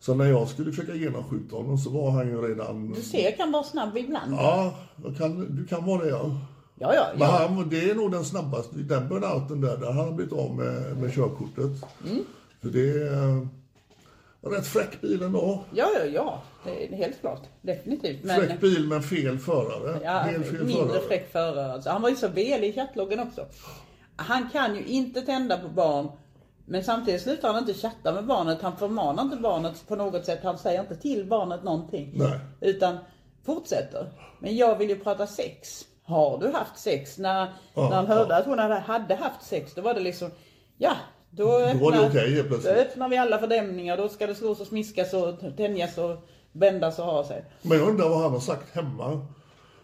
[SPEAKER 2] Så när jag skulle försöka genomskjuta honom så var han ju redan...
[SPEAKER 1] Du ser, jag kan vara snabb ibland.
[SPEAKER 2] Ja, jag kan, du kan vara det ja.
[SPEAKER 1] Ja, ja,
[SPEAKER 2] Men
[SPEAKER 1] ja.
[SPEAKER 2] han, det är nog den snabbaste, den burnouten där, där han har blivit av med, med körkortet.
[SPEAKER 1] Mm.
[SPEAKER 2] För det är eh, rätt fräck bil ändå.
[SPEAKER 1] Ja, ja, ja. Det är helt klart. Definitivt.
[SPEAKER 2] Fräck bil men fel förare.
[SPEAKER 1] Ja,
[SPEAKER 2] Helt fel
[SPEAKER 1] mindre
[SPEAKER 2] förare.
[SPEAKER 1] fräck förare. Alltså, han var ju så velig i chattloggen också. Han kan ju inte tända på barn. Men samtidigt slutar han inte chatta med barnet. Han förmanar inte barnet på något sätt. Han säger inte till barnet någonting.
[SPEAKER 2] Nej.
[SPEAKER 1] Utan fortsätter. Men jag vill ju prata sex. Har du haft sex? När,
[SPEAKER 2] Ja,
[SPEAKER 1] när han hörde
[SPEAKER 2] ja.
[SPEAKER 1] att hon hade, hade haft sex, då var det liksom, ja. Då,
[SPEAKER 2] var det okej helt plötsligt.
[SPEAKER 1] Då öppnar vi alla fördämningar. Då ska det slås och smiskas och tänjas och bändas och ha sig.
[SPEAKER 2] Men jag undrar vad han har sagt hemma.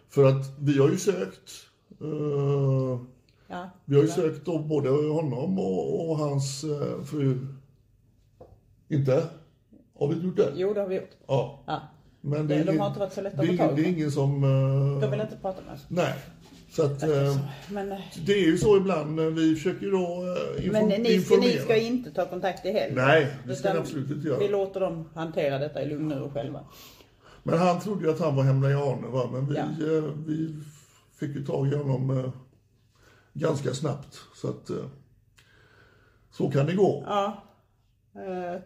[SPEAKER 2] För att vi har ju sökt. eh,
[SPEAKER 1] Ja.
[SPEAKER 2] vi har ju sökt då både honom och, och hans eh, fru. Inte? Har vi gjort det?
[SPEAKER 1] Jo, det har vi gjort.
[SPEAKER 2] Ja.
[SPEAKER 1] Ja.
[SPEAKER 2] Men
[SPEAKER 1] De har
[SPEAKER 2] ingen-
[SPEAKER 1] inte varit så lätta
[SPEAKER 2] det, är
[SPEAKER 1] att få tag
[SPEAKER 2] ingen- det är
[SPEAKER 1] på.
[SPEAKER 2] ingen som... eh,
[SPEAKER 1] De vill inte prata med oss.
[SPEAKER 2] Nej. Så att... eh,
[SPEAKER 1] Men,
[SPEAKER 2] det är ju så ibland. eh, Vi försöker ju då eh,
[SPEAKER 1] men
[SPEAKER 2] inform-
[SPEAKER 1] ni, ska,
[SPEAKER 2] informera.
[SPEAKER 1] ni ska inte ta kontakt i helg?
[SPEAKER 2] Nej, det ska
[SPEAKER 1] Utan
[SPEAKER 2] ni absolut inte göra.
[SPEAKER 1] Vi låter dem hantera detta i lugn och ro själva.
[SPEAKER 2] Men han trodde ju att han var hemma i Arne, va? men vi,
[SPEAKER 1] Ja.
[SPEAKER 2] eh, vi fick ju tag i honom eh, ganska snabbt. Så att eh, så kan det gå. Ja,
[SPEAKER 1] Eh,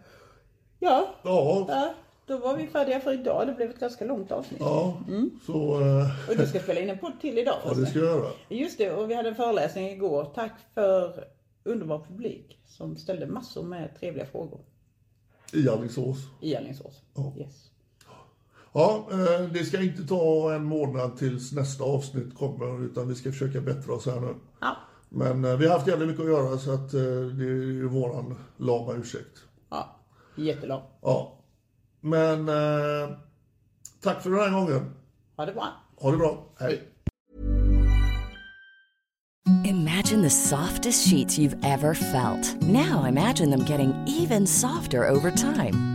[SPEAKER 1] ja,
[SPEAKER 2] ja,
[SPEAKER 1] ja, då var vi färdiga för idag. Det blev ett ganska långt avsnitt.
[SPEAKER 2] så eh,
[SPEAKER 1] Och du ska spela in en podd till idag
[SPEAKER 2] ja, det ska
[SPEAKER 1] förresten.
[SPEAKER 2] jag göra.
[SPEAKER 1] Just det, och vi hade en föreläsning igår. Tack för underbar publik som ställde massor med trevliga frågor
[SPEAKER 2] I Alingsås.
[SPEAKER 1] i Alingsås. Yes.
[SPEAKER 2] Ja, eh, det ska inte ta en månad tills nästa avsnitt kommer, utan vi ska försöka bättra oss här nu.
[SPEAKER 1] Ja,
[SPEAKER 2] Men eh, vi har haft jävligt mycket att göra, så att eh, det är ju våran lama ursäkt.
[SPEAKER 1] ja. jättelång.
[SPEAKER 2] Ja. Men eh, tack för den här gången.
[SPEAKER 1] Ha det bra.
[SPEAKER 2] Ha det bra. Hej.
[SPEAKER 3] Imagine the softest sheets you've ever felt. Now imagine them getting even softer over time.